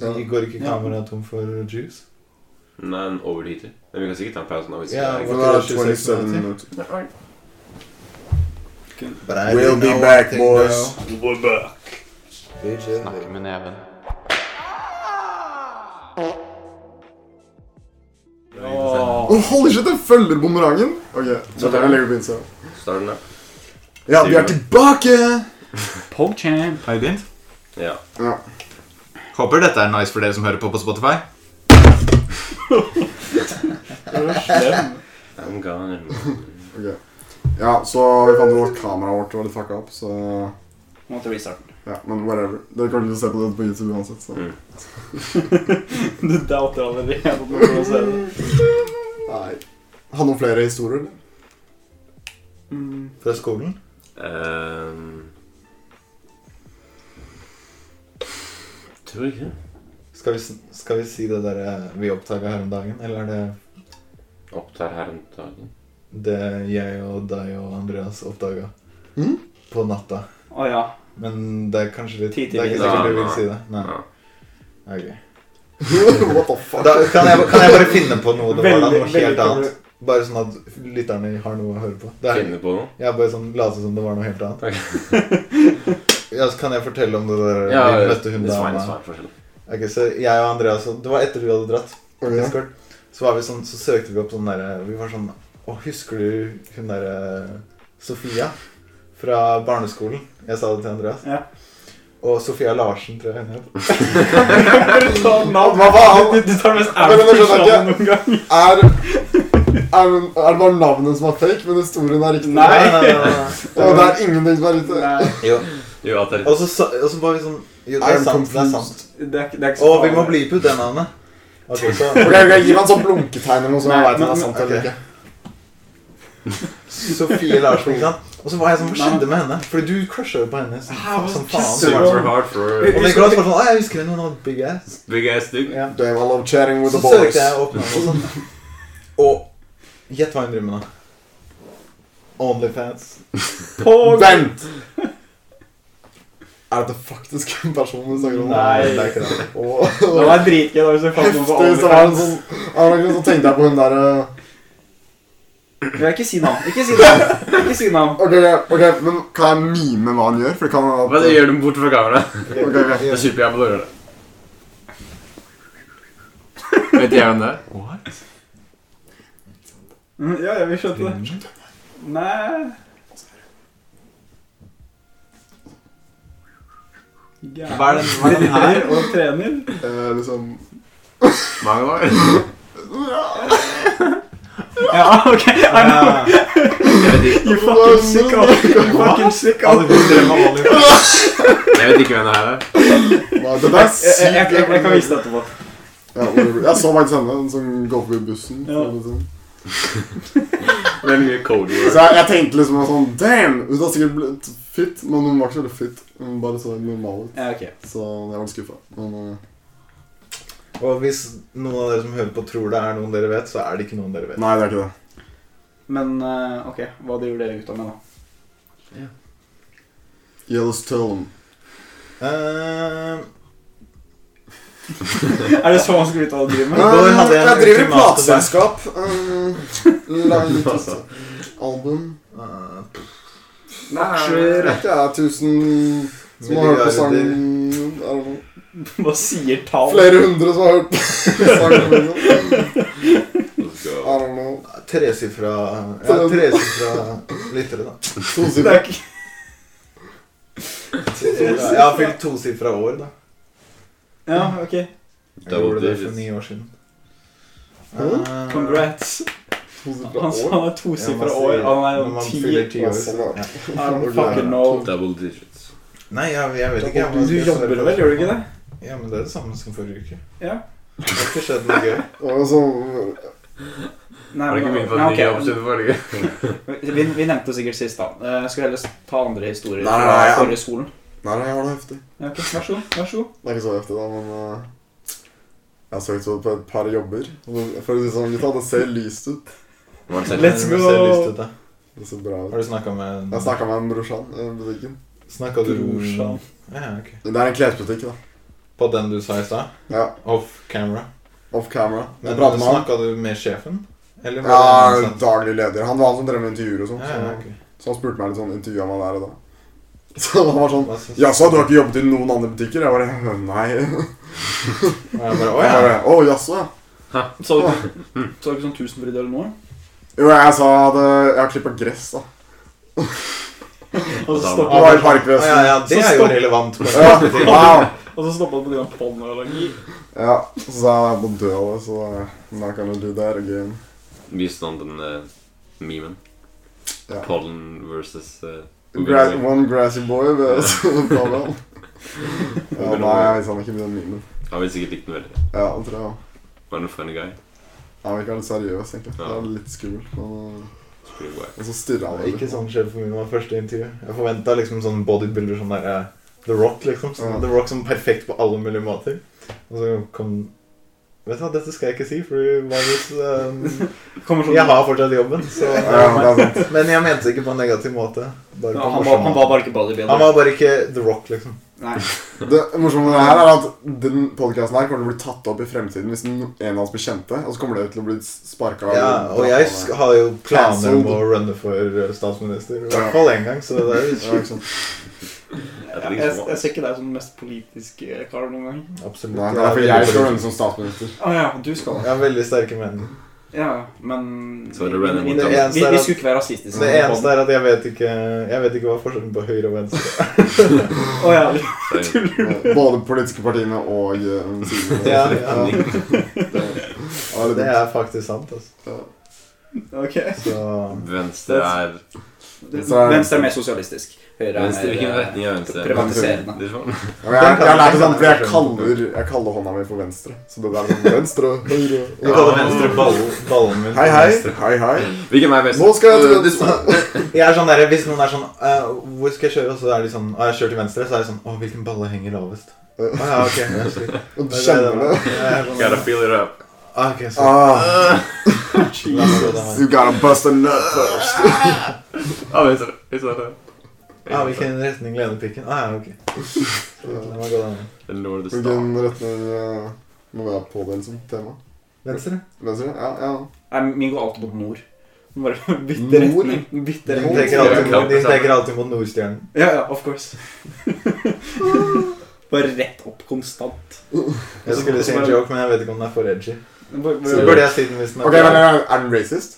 Speaker 2: Så
Speaker 6: Ja.
Speaker 2: går ikke kameraet tom for juice?
Speaker 4: Nei, en overheater. Men vi kan sikkert ta en pause nå. hvis
Speaker 2: Ja,
Speaker 4: vi
Speaker 6: For
Speaker 4: er
Speaker 6: nå er det
Speaker 2: 26
Speaker 6: 27
Speaker 2: minutter.
Speaker 6: minutter.
Speaker 2: But I
Speaker 6: We'll
Speaker 2: didn't
Speaker 6: be
Speaker 2: know
Speaker 6: back,
Speaker 2: anything,
Speaker 6: boys.
Speaker 2: though. We did it.
Speaker 3: med neven.
Speaker 4: Åh.
Speaker 6: Oh, holy shit, den følger bumerangen! Ok, så
Speaker 4: tar
Speaker 6: tar
Speaker 4: vi-
Speaker 6: jeg legger på innsida.
Speaker 4: Starter den der?
Speaker 6: Ja, vi er tilbake!
Speaker 5: Pogchamp.
Speaker 2: Har vi begynt?
Speaker 4: Ja.
Speaker 6: Ja.
Speaker 2: Håper dette er nice for dere som hører på på Spotify.
Speaker 4: I'm gone.
Speaker 6: Ok. Ja, så vi fant ut at kameraet vårt var litt fucka opp, så
Speaker 5: Måtte restarte den.
Speaker 6: Ja, men whatever. Dere kommer til å se på det på YouTube uansett, så
Speaker 4: Mm.
Speaker 5: Du doubter allerede at noen ser det.
Speaker 6: Nei. Har noen flere historier? eller?
Speaker 5: Mm.
Speaker 2: Fra skolen?
Speaker 4: Ehm. Tror ikke det.
Speaker 2: Skal vi, sn- skal vi si det der eh, vi oppdaga her om dagen? Eller er det
Speaker 4: Opptar her om dagen.
Speaker 2: det jeg og deg og Andreas oppdaga
Speaker 6: Mm?
Speaker 2: på natta?
Speaker 5: Å ja.
Speaker 2: Men det er kanskje litt
Speaker 5: Tid
Speaker 2: Det
Speaker 5: til
Speaker 2: er ikke
Speaker 4: videre.
Speaker 2: sikkert du
Speaker 4: Nei,
Speaker 2: vil
Speaker 4: nei.
Speaker 2: si det. Nei.
Speaker 4: Ja.
Speaker 2: ok.
Speaker 6: What the fuck?
Speaker 2: Da kan jeg, kan jeg bare finne på noe det var da,
Speaker 5: Veldig-
Speaker 2: noe helt
Speaker 5: veldig-
Speaker 2: annet. Bare sånn at lytterne har noe å høre på. Det er,
Speaker 4: Finner du på noe?
Speaker 2: jeg bare sånn later som det var noe helt annet.
Speaker 4: Ok.
Speaker 2: Ja, så kan jeg fortelle om det der
Speaker 4: Ja,
Speaker 2: vi
Speaker 4: it's
Speaker 2: møtte
Speaker 4: fine,
Speaker 2: hun
Speaker 4: it's
Speaker 2: dama?
Speaker 4: fine. forskjell.
Speaker 2: Ok, så jeg og Andreas Det var etter du hadde dratt. på
Speaker 6: Ok.
Speaker 2: Discord. Så var vi sånn, så søkte vi opp sånn derre Vi var sånn Å, husker du hun derre Sofia fra barneskolen? Jeg sa det til Andreas.
Speaker 5: Ja.
Speaker 2: Og Sofia Larsen, tror jeg hun het.
Speaker 5: Bare ta navn.
Speaker 6: Hva faen?
Speaker 5: Du tar det mest
Speaker 6: Men jeg
Speaker 5: ærlige
Speaker 6: skjønner
Speaker 5: navnet noen gang.
Speaker 6: Er, er, er det bare navnet som er fake, men historien er riktig?
Speaker 5: Nei.
Speaker 2: nei, nei, nei.
Speaker 6: Og det er ingenting som er riktig?
Speaker 5: Nei,
Speaker 2: Jo.
Speaker 4: Jo, at det er
Speaker 2: Og så, sa- og så var vi sånn Jo, det
Speaker 6: I'm
Speaker 2: er sant. Det er sant.
Speaker 6: confused.
Speaker 5: det er, ikke- det er ikke
Speaker 2: Å, vi må bleepe ut det navnet. Ok, så
Speaker 6: Ok, ok, Gi meg en sånn blunketegn eller noe, så
Speaker 5: Nei,
Speaker 6: jeg vet om det
Speaker 5: men-
Speaker 6: er sant eller
Speaker 2: ok.
Speaker 6: ikke.
Speaker 2: Sofie Larsen, ikke sant? Og så var jeg sånn Hva skjedde med henne? Fordi du crusha jo på henne som,
Speaker 5: Hæ, hva
Speaker 2: som
Speaker 5: pisser
Speaker 2: faen.
Speaker 5: du?
Speaker 4: super hard for
Speaker 2: Og Nicolas var sånn Å, jeg husker hun hadde big ass.
Speaker 4: big ass dude.
Speaker 2: Ja.
Speaker 6: Damn, I love chatting with
Speaker 2: Så
Speaker 6: the boys.
Speaker 2: søkte jeg opp navnet og sånn. Og gjett hva hun driver med nå. Onlyfans.
Speaker 5: Pog.
Speaker 6: Vent! Er dette faktisk en person vi snakker om?
Speaker 5: Nei.
Speaker 2: det er ikke det.
Speaker 6: Åh,
Speaker 5: Det var dritgøy da hvis jeg fant noen på
Speaker 6: Heftig, så var det en sånn av en grunn så tenkte jeg på hun der eh,
Speaker 5: Jeg ikke si navn. Ikke si navn. Ikke si navn.
Speaker 6: ok, ok, ok, men kan jeg mime hva han gjør? For det kan være at
Speaker 4: Hva det gjør du bort fra kameraet?
Speaker 6: Ok, ok.
Speaker 4: Det er superjævlig å gjøre det.
Speaker 3: Vet jeg hvem det er?
Speaker 5: Mm, Ja, ja, vi skjønte det. Nei Gæren.
Speaker 2: Hva er den- hva er den her?
Speaker 5: Ridder og trener?
Speaker 6: eh, liksom
Speaker 3: Mange år.
Speaker 5: Ja, ok. I know.
Speaker 2: Ja.
Speaker 5: You fucking sick off. You fucking sick off.
Speaker 2: Alle gode drømmer om Onlyfans.
Speaker 3: Jeg vet ikke hvem det her er.
Speaker 6: Nei, det der er
Speaker 5: Jeg, jeg, jeg,
Speaker 6: sykt
Speaker 5: jeg kan vise det etterpå.
Speaker 6: Ja, Oliver- jeg så faktisk henne, den som går forbi bussen.
Speaker 5: Ja.
Speaker 6: eller noe sånt.
Speaker 4: Veldig mye code
Speaker 6: Så
Speaker 4: word.
Speaker 6: jeg, jeg tenkte liksom sånn Damn! Hun har sikkert blitt fit, men hun var ikke så veldig fit. Hun bare så normal ut.
Speaker 5: Ja, ok.
Speaker 6: Så jeg var litt skuffa. Men eh,
Speaker 2: Og hvis noen av dere som hører på, tror det er noen dere vet, så er det ikke noen dere vet.
Speaker 6: nei, det er ikke det.
Speaker 5: Men eh, ok, hva driver dere gutta med, da?
Speaker 6: Yellowstone.
Speaker 2: Eh,
Speaker 5: Er det så vanskelig å drive med?
Speaker 2: går hadde jeg en
Speaker 6: jeg driver i
Speaker 2: ultimate
Speaker 6: plateselskap. eh, Lager litt album.
Speaker 2: eh,
Speaker 6: Aksjer. Det er 1000 som har hørt på sangen I don't know.
Speaker 5: Hva sier tall?
Speaker 6: Flere hundre som har hørt på sangen. liksom.
Speaker 4: Let's
Speaker 6: I
Speaker 4: go.
Speaker 6: don't know.
Speaker 2: Tresifra Ja,
Speaker 6: Sånn
Speaker 2: tresifra lyttere, da.
Speaker 5: Det
Speaker 6: Tosifra.
Speaker 5: er ikke...
Speaker 2: Jeg har fylt tosifra år, da.
Speaker 5: Ja, ok.
Speaker 2: Jeg gjorde det for
Speaker 4: digits.
Speaker 2: ni år siden.
Speaker 6: Hæ?
Speaker 2: Eh,
Speaker 5: Congrats.
Speaker 6: Tosifra
Speaker 5: Han, han
Speaker 6: år.
Speaker 5: er
Speaker 2: ja, man
Speaker 5: tosifra
Speaker 2: sier-
Speaker 5: år. Han er
Speaker 2: når
Speaker 5: jo
Speaker 2: man
Speaker 5: ti.
Speaker 2: fyller ti år.
Speaker 6: altså,
Speaker 2: så- ja.
Speaker 5: I don't fucking know.
Speaker 4: Double digits.
Speaker 2: Nei, jeg, jeg vet ikke. Jeg,
Speaker 5: Du jobber vel, gjør du ikke det?
Speaker 2: Ja, men det er det samme som forrige uke.
Speaker 5: Ja.
Speaker 2: Det har ikke skjedd noe gøy.
Speaker 6: Det var sånn
Speaker 5: Nei,
Speaker 4: Var det ikke
Speaker 5: men-
Speaker 4: min for
Speaker 5: nei,
Speaker 4: ny
Speaker 5: ok.
Speaker 4: jobb siden forrige?
Speaker 5: Vi, vi nevnte sikkert sist, da. Eh, Jeg skulle heller ta andre historier
Speaker 6: Nei, nei,
Speaker 5: fra
Speaker 6: nei,
Speaker 5: forrige skolen.
Speaker 6: Nei, nei, jeg var da heftig.
Speaker 5: Ja, ok, Vær så god. vær så god.
Speaker 6: Det er ikke så heftig, da, men eh, Jeg har søkt på et par jobber. og det- For å si det sånn, gutta, det ser lyst ut.
Speaker 4: Var det
Speaker 5: Let's
Speaker 2: Men det
Speaker 5: go!
Speaker 2: ser lyst ut, da.
Speaker 6: Det ser bra ut.
Speaker 2: Har du snakka med
Speaker 6: Jeg snakka med en brorsan i butikken.
Speaker 2: Snakka du
Speaker 5: Brorsan.
Speaker 2: Ja, ok.
Speaker 6: Det er en klesbutikk, da.
Speaker 2: På den du sa i stad?
Speaker 6: Ja,
Speaker 2: Off camera?
Speaker 6: Off camera.
Speaker 2: Men
Speaker 6: Jeg pratet med han.
Speaker 2: Snakka du med sjefen? Eller var det
Speaker 6: Ja,
Speaker 2: ansatt?
Speaker 6: daglig leder. Han var han som drev med intervjuer og sånn.
Speaker 2: sånn- Ja, ja, ok.
Speaker 6: Så, så han spurte meg litt sånn intervjua meg der og da. Så han var sånn
Speaker 2: Hva syns
Speaker 6: Jaså, du har ikke jobbet i noen andre butikker? Jeg bare Nei.
Speaker 2: Og jeg bare,
Speaker 6: Å
Speaker 2: Å ja.
Speaker 6: ja. Å, jaså, ja.
Speaker 5: Så du så du ikke sånn tusenfryd eller noe?
Speaker 6: Jo, jeg sa at eh, jeg har klippa gress, da.
Speaker 5: Og så
Speaker 4: Da-
Speaker 5: stoppa
Speaker 6: Det var i
Speaker 2: Å,
Speaker 5: han
Speaker 2: ja,
Speaker 6: parkvesenet.
Speaker 2: ja, det
Speaker 5: Så
Speaker 2: er jo
Speaker 5: stopp.
Speaker 2: relevant. på
Speaker 6: Ja,
Speaker 2: en måte.
Speaker 6: wow.
Speaker 5: og så stoppet han på grunn av pollenallergi.
Speaker 6: Ja, så sa jeg på død av det, så I'm not gonna do that again.
Speaker 4: Viste han den eh, memen?
Speaker 6: Ja.
Speaker 4: Pollen versus eh, who
Speaker 6: Gra
Speaker 4: gonna win?
Speaker 6: one grassy boy ved Svalbard. ja, nei, jeg visste han ikke den mimen.
Speaker 4: Han ville sikkert likt den veldig.
Speaker 6: Ja, det tror jeg.
Speaker 4: Var det en funny guy?
Speaker 6: Han virka litt seriøs, egentlig. Det
Speaker 4: Ja.
Speaker 6: var litt skummelt. men,
Speaker 4: It's pretty wack.
Speaker 6: uh, Og så stirra
Speaker 2: Det
Speaker 6: han
Speaker 2: var Ikke
Speaker 6: litt.
Speaker 2: sånn sjefen min var første intervju. Jeg forventa liksom sånn bodybuilder som der eh, The Rock, liksom. Sånn,
Speaker 6: Ja.
Speaker 2: The Rock som perfekt på alle mulige måter. Og så kom Vet du hva, dette skal jeg ikke si, for hva hvis eh,
Speaker 5: Kommer sånn,
Speaker 2: Jeg har fortsatt jobben, så
Speaker 6: Ja, det er sant.
Speaker 2: Men jeg mente det ikke på en negativ måte. Bare
Speaker 5: Ja,
Speaker 2: på
Speaker 5: han,
Speaker 2: morsom
Speaker 5: var, han var
Speaker 2: måte.
Speaker 5: bare ikke bodybuilder.
Speaker 2: han var bare ikke The Rock, liksom.
Speaker 5: Nei.
Speaker 6: Det morsomme med det her er at den podcasten her kommer til å bli tatt opp i fremtiden hvis no- en av oss blir kjente, og så kommer det til å bli sparka
Speaker 2: Ja, og jeg sk- har jo planer om å runne for eh, statsminister. I hvert fall én gang, så det er
Speaker 6: ja, ikke sant.
Speaker 4: Jeg
Speaker 5: Jeg,
Speaker 4: tror
Speaker 5: jeg,
Speaker 4: ikke
Speaker 5: jeg
Speaker 4: så-
Speaker 5: ser ikke deg som den mest politiske karen noen gang.
Speaker 2: absolutt
Speaker 6: Nei, det er fordi jeg skal runde som statsminister.
Speaker 5: Å ja, du skal
Speaker 2: Jeg
Speaker 5: det.
Speaker 2: har veldig sterke meninger.
Speaker 5: Ja, men
Speaker 4: Så er det Brennan
Speaker 5: vi,
Speaker 4: mot
Speaker 5: vi,
Speaker 4: ham.
Speaker 5: vi, vi, vi skulle ikke være rasistiske.
Speaker 2: Det eneste er at jeg vet ikke Jeg vet ikke hva forskjellen på høyre og venstre er.
Speaker 5: Å ja,
Speaker 4: Sorry.
Speaker 6: Eh, Både politiske partiene og eh, sidene.
Speaker 2: Ja, ja.
Speaker 6: Det, ja, det
Speaker 2: Det
Speaker 6: er litt dumt.
Speaker 2: er faktisk sant. Altså.
Speaker 5: ok.
Speaker 2: Så
Speaker 4: Venstre er
Speaker 5: Venstre er mer sosialistisk. Høyre
Speaker 4: Venstre,
Speaker 5: er
Speaker 4: Hvilken
Speaker 5: eh,
Speaker 4: retning er venstre?
Speaker 5: privatiserende.
Speaker 4: Det er sånn.
Speaker 6: Ja, men jeg, jeg har lært det sånn fordi jeg kaller, jeg kaller hånda mi for venstre. Så det der er sånn venstre, høyre
Speaker 2: Jeg kaller venstre ball, ballen min.
Speaker 6: Hei, hei. Hei, hei.
Speaker 4: Hvilken vei er best?
Speaker 6: Nå skal jeg til
Speaker 4: Øh,
Speaker 6: venstre.
Speaker 2: Jeg er sånn der, Hvis noen er sånn eh, 'Hvor skal jeg kjøre?' Og så er de sånn «Å, jeg kjører til venstre', så er de sånn 'Å, hvilken balle henger lavest?' Å ja, ok. jeg skjønner.
Speaker 6: Og du kjenner det.
Speaker 2: Jeg er sånn,
Speaker 4: Gotta feel it up.
Speaker 2: «Ah, ok, så
Speaker 6: Ah,
Speaker 2: la meg gå den veien.
Speaker 6: you gotta bust a nut first.
Speaker 4: Ja, venstre. Venstre, venstre.
Speaker 2: Ja, hvilken retning lener pikken? Ah, ja, ok. La meg gå den veien.
Speaker 4: The Lord of the Star.
Speaker 6: Hvilken retning eh, må vi ha på den som tema?
Speaker 2: Venstre?
Speaker 6: Venstre? Ja, ja.
Speaker 5: Nei, min går alltid mot nord. Bare bytte
Speaker 6: Nord?
Speaker 5: retning. Bytte
Speaker 2: De
Speaker 5: retning.
Speaker 2: peker alltid mot, de peker alltid mot Nordstjernen.
Speaker 5: Ja, ja, of course. Bare rett opp konstant.
Speaker 2: Jeg skulle si en joke, men jeg vet ikke om den er for edgy.
Speaker 5: Bare-
Speaker 2: Så
Speaker 5: bare-
Speaker 2: burde jeg si den hvis den
Speaker 6: Ok, men eh, er den racist?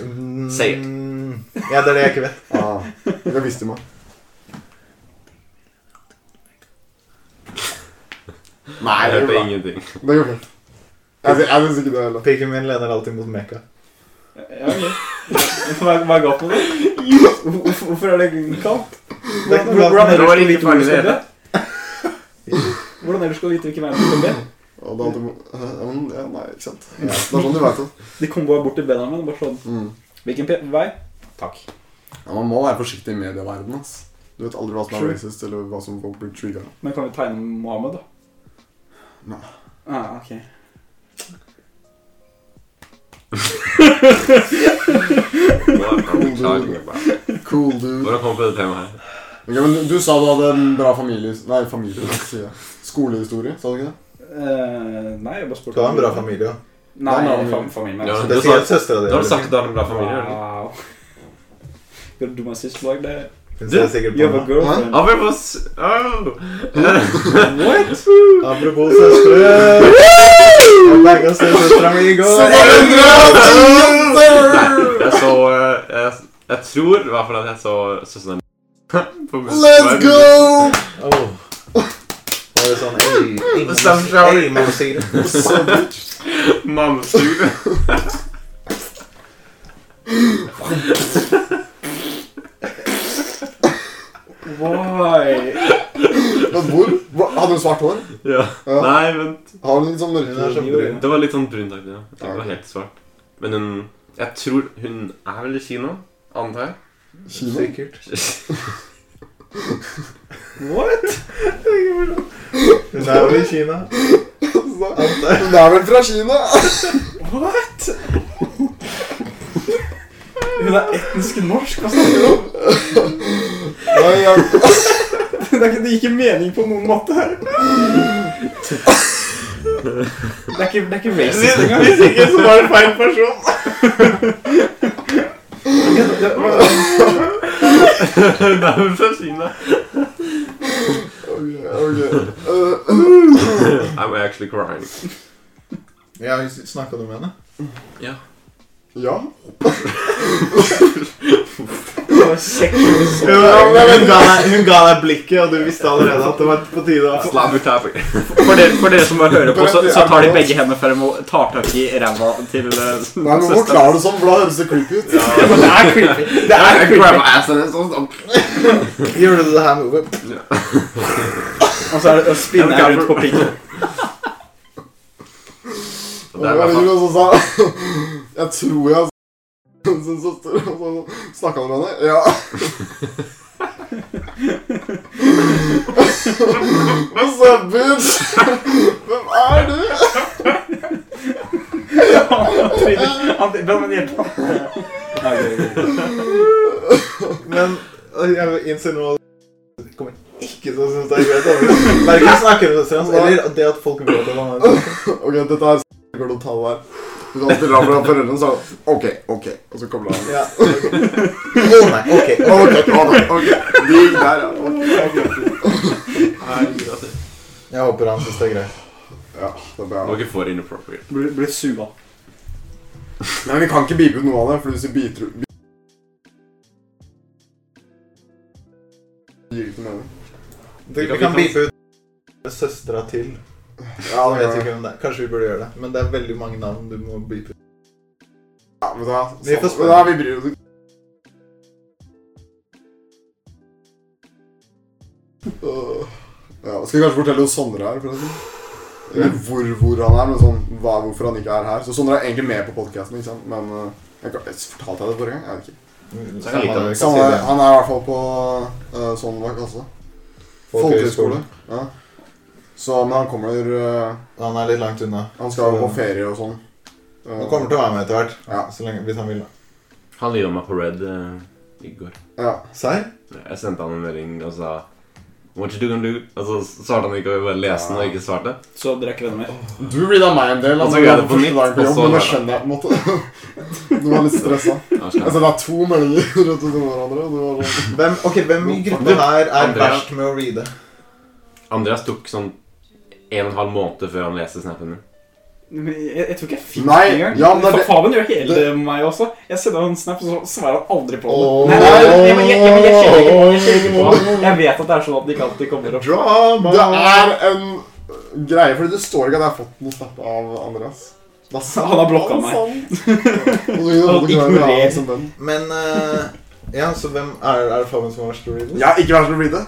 Speaker 2: Mm,
Speaker 4: Say it.
Speaker 2: Ja, det er det jeg ikke vet.
Speaker 6: Ah, det visste du meg. Nei,
Speaker 4: Jeg
Speaker 6: det går
Speaker 4: hørte
Speaker 6: bra.
Speaker 4: ingenting.
Speaker 6: Det går fint. Jeg, jeg syns ikke det heller.
Speaker 2: Pikken min lener alltid mot Mekka.
Speaker 5: Ja, ok. Hva, hva er galt med det? Hvorfor, hvorfor er det kaldt?
Speaker 2: Det er ikke noe galt
Speaker 5: Hvordan
Speaker 2: med
Speaker 5: ellers
Speaker 4: Det var
Speaker 5: skal du vite hvor du
Speaker 4: ikke farlig,
Speaker 5: skal
Speaker 4: det.
Speaker 5: be? Hvordan ellers skal du vite hvilken vei du skal be?
Speaker 6: Og da hadde hun ja, men, ja, Nei, ikke sant. Det er sånn du vet det.
Speaker 5: De kom bare bort til Benjamin og bare sånn
Speaker 6: Mm.
Speaker 5: Hvilken pe- vei? Takk.
Speaker 6: Ja, man må være forsiktig i medieverdenen. ass. Du vet aldri hva som er
Speaker 5: True.
Speaker 6: racist, eller hva som folk blir trigga av.
Speaker 5: Men kan vi tegne Mohammed, da?
Speaker 6: Nei.
Speaker 5: Ah, ok.
Speaker 4: What are we talking about?
Speaker 6: Cool, dude.
Speaker 4: Hvordan kom vi på det temaet her?
Speaker 6: Ok, men du, du sa du hadde en bra familie... Nei, familie, sier jeg. Skolehistorie, sa du ikke det?
Speaker 5: Eh, nei, jeg bare spurte
Speaker 2: Du har en bra familie. da.
Speaker 5: Nei,
Speaker 6: Ja, men-
Speaker 5: fam familien
Speaker 4: Ja,
Speaker 5: min.
Speaker 4: det-
Speaker 2: Spesielt søstera di.
Speaker 4: Da har du sagt at du har en bra familie. eller?
Speaker 5: Wow. You're doing my sister like that.
Speaker 2: Hun ser sikkert
Speaker 5: You have
Speaker 2: på
Speaker 5: a
Speaker 2: meg.
Speaker 5: girlfriend.
Speaker 4: Apropos oh.
Speaker 5: What?
Speaker 2: Apropos søstre. Jeg legger oss til søstera mi i går.
Speaker 4: Jeg så eh, jeg, jeg tror i hvert fall at jeg så søsteren din på bussen.
Speaker 6: Let's go!
Speaker 2: Oh. Var det sånn
Speaker 4: Samsung.
Speaker 2: Amon-sigrett?
Speaker 6: Så bitch.
Speaker 4: Mammestue.
Speaker 5: Why?
Speaker 6: Men hvor? Hva- Hadde hun svart hår?
Speaker 4: Ja.
Speaker 6: Ja.
Speaker 4: Nei, vent.
Speaker 6: Har hun litt sånn
Speaker 2: Hun er så
Speaker 6: mørke
Speaker 2: brun.
Speaker 4: Det var litt sånn brunt aktig. Ja. Det
Speaker 6: Ja, ok.
Speaker 4: var helt svart. Men hun Jeg tror hun er vel i Kina, antar jeg.
Speaker 6: kino?
Speaker 2: Sikkert.
Speaker 5: What?
Speaker 2: Hun er jo i Kina.
Speaker 6: Hun er vel fra Kina?
Speaker 5: What? Hun er etnisk norsk, hva snakker du om?
Speaker 6: Nei, jeg...
Speaker 5: Det, er ikke, det gir ikke mening på noen måte her. Det er ikke, det er ikke racist engang.
Speaker 4: Hvis ikke,
Speaker 6: Altså,
Speaker 4: så var det feil person.
Speaker 5: Det- det- hva-
Speaker 4: Hun er vel fra Kina.
Speaker 6: Ok, ok. Øh,
Speaker 4: I'm actually crying.
Speaker 2: Ja, Snakka du med henne?
Speaker 6: ja?
Speaker 5: det var sexual-
Speaker 2: hun, ga deg, hun ga deg blikket, og du visste allerede at det var på tide. å-
Speaker 4: Slabby tabby.
Speaker 5: For dere, for dere som bare hører på, så, så tar de begge hendene frem og tar tak i ræva til eh,
Speaker 6: Nei, men
Speaker 5: søsteren.
Speaker 6: Forklar det sånn, for da høres det creepy ut.
Speaker 5: Ja, men Det er creepy. Det er
Speaker 3: Jeg grabber assen hennes og sånn.
Speaker 2: Gjorde du det her med Ove?
Speaker 5: Og så er det å spinne
Speaker 4: Jeg
Speaker 5: rundt på pikken.
Speaker 4: Det
Speaker 6: Det
Speaker 4: er
Speaker 6: var
Speaker 4: i hvert fall
Speaker 6: Jørgen som sa Jeg tror jeg s- sin søster og så Snakka han med henne? Ja. What's up, bitch? Hvem er du?
Speaker 5: Han tryner- han- Benjamin, hjelp ham. Ja, gøy, gøy.
Speaker 2: Men og jeg innser nå at jeg kommer ikke til å synes det er greit. altså. Verken snakke med søsteren hans eller det at folk vet om han er
Speaker 6: Ok, dette er s- går det å ta det her. Hvis han stiller fra foreldrene, så er det OK, OK. Og så kobler han.
Speaker 2: Ja. Å nei, ok.
Speaker 6: OK, OK. ok. De gikk der, ja. Ok, ok.
Speaker 4: Herregud, altså.
Speaker 2: Jeg håper han syns det er greit.
Speaker 6: Ja, det er bra.
Speaker 4: Det var ikke for inappropriate.
Speaker 5: Blir blir sua.
Speaker 6: Nei, vi kan ikke bipe ut noe av det, for hvis vi biter ut Gir ikke mening.
Speaker 2: Du, vi kan beepe ut søstera til.
Speaker 6: Ja, det
Speaker 2: Jeg vet
Speaker 6: gjør
Speaker 2: ikke hvem det er. Kanskje vi burde gjøre det. Men det er veldig mange navn du må beepe ut.
Speaker 6: Ja, vet du hva?
Speaker 2: Vi får
Speaker 6: Sånn-
Speaker 2: spørre.
Speaker 6: Ja, vi bryr oss ikke. Øh, Ja, skal vi kanskje fortelle hvor Sondre er, forresten? Eller hvor, hvor han er, men sånn hva, hvorfor han ikke er her. Så Sondre er egentlig med på podcasten, ikke sant? Men øh, jeg, kan- jeg fortalte jeg det forrige gang? Jeg vet ikke.
Speaker 2: Samme det, vi kan
Speaker 6: Så
Speaker 2: si
Speaker 6: han, er,
Speaker 2: det.
Speaker 6: eh, han er i hvert fall på øh, sånn hva kalles det? Folkehøyskole. Ja. Så, men han kommer øh,
Speaker 2: Han er litt langt unna.
Speaker 6: Han skal jo på ferie og sånn.
Speaker 2: Han kommer til å være med etter hvert.
Speaker 6: Ja.
Speaker 2: Så lenge, hvis han vil. da.
Speaker 4: Han lida meg på Red eh, i går.
Speaker 6: Ja.
Speaker 2: Serr?
Speaker 4: Jeg sendte han en melding og sa What you doing, dude? Og så svarte han ikke, og vi bare leste den og ikke svarte.
Speaker 5: Så dere er ikke venner mer?
Speaker 6: Du reada meg en del.
Speaker 4: Og så
Speaker 6: Altså,
Speaker 4: gjør jeg
Speaker 6: jeg
Speaker 4: det på
Speaker 6: første
Speaker 4: nytt,
Speaker 6: dagen på
Speaker 4: og
Speaker 6: jobb,
Speaker 4: så
Speaker 6: men det skjønner
Speaker 4: gjør jeg
Speaker 6: jeg på en måte. Du var litt stressa.
Speaker 4: Ja,
Speaker 6: Jeg
Speaker 4: slapp.
Speaker 6: sendte deg to meldinger rett etter hverandre. Og du var sånn
Speaker 2: Hvem, ok, hvem i gruppa her er
Speaker 4: Andrea.
Speaker 2: verst med å reade?
Speaker 4: Andreas tok sånn en og en halv måned før han leste snappen min.
Speaker 5: Men Jeg, jeg tror ikke jeg fikk
Speaker 6: Nei,
Speaker 5: det engang.
Speaker 6: ja, men det-
Speaker 5: Fa- Fabian gjør ikke helt
Speaker 6: det-
Speaker 5: det med meg også. Jeg sender han en snap, og så svarer han aldri på det.
Speaker 2: Åh.
Speaker 5: Nei, nei, nei, jeg, jeg, jeg, jeg, kjenner ikke, jeg kjenner ikke på det. Jeg vet at det er sånn at det ikke alltid kommer opp.
Speaker 2: Drama!
Speaker 6: Det er en greie, fordi det står ikke at jeg har fått noe snap av Andreas. Da sa
Speaker 5: Han har blokka
Speaker 6: han
Speaker 5: meg.
Speaker 6: sånn. Og så kunne
Speaker 5: Han
Speaker 6: du ikke være
Speaker 5: ignorerer.
Speaker 6: med som venn.
Speaker 2: Men eh, Ja, så hvem er, er det Fabian som har verst å reade?
Speaker 6: Jeg har ikke vært så blid.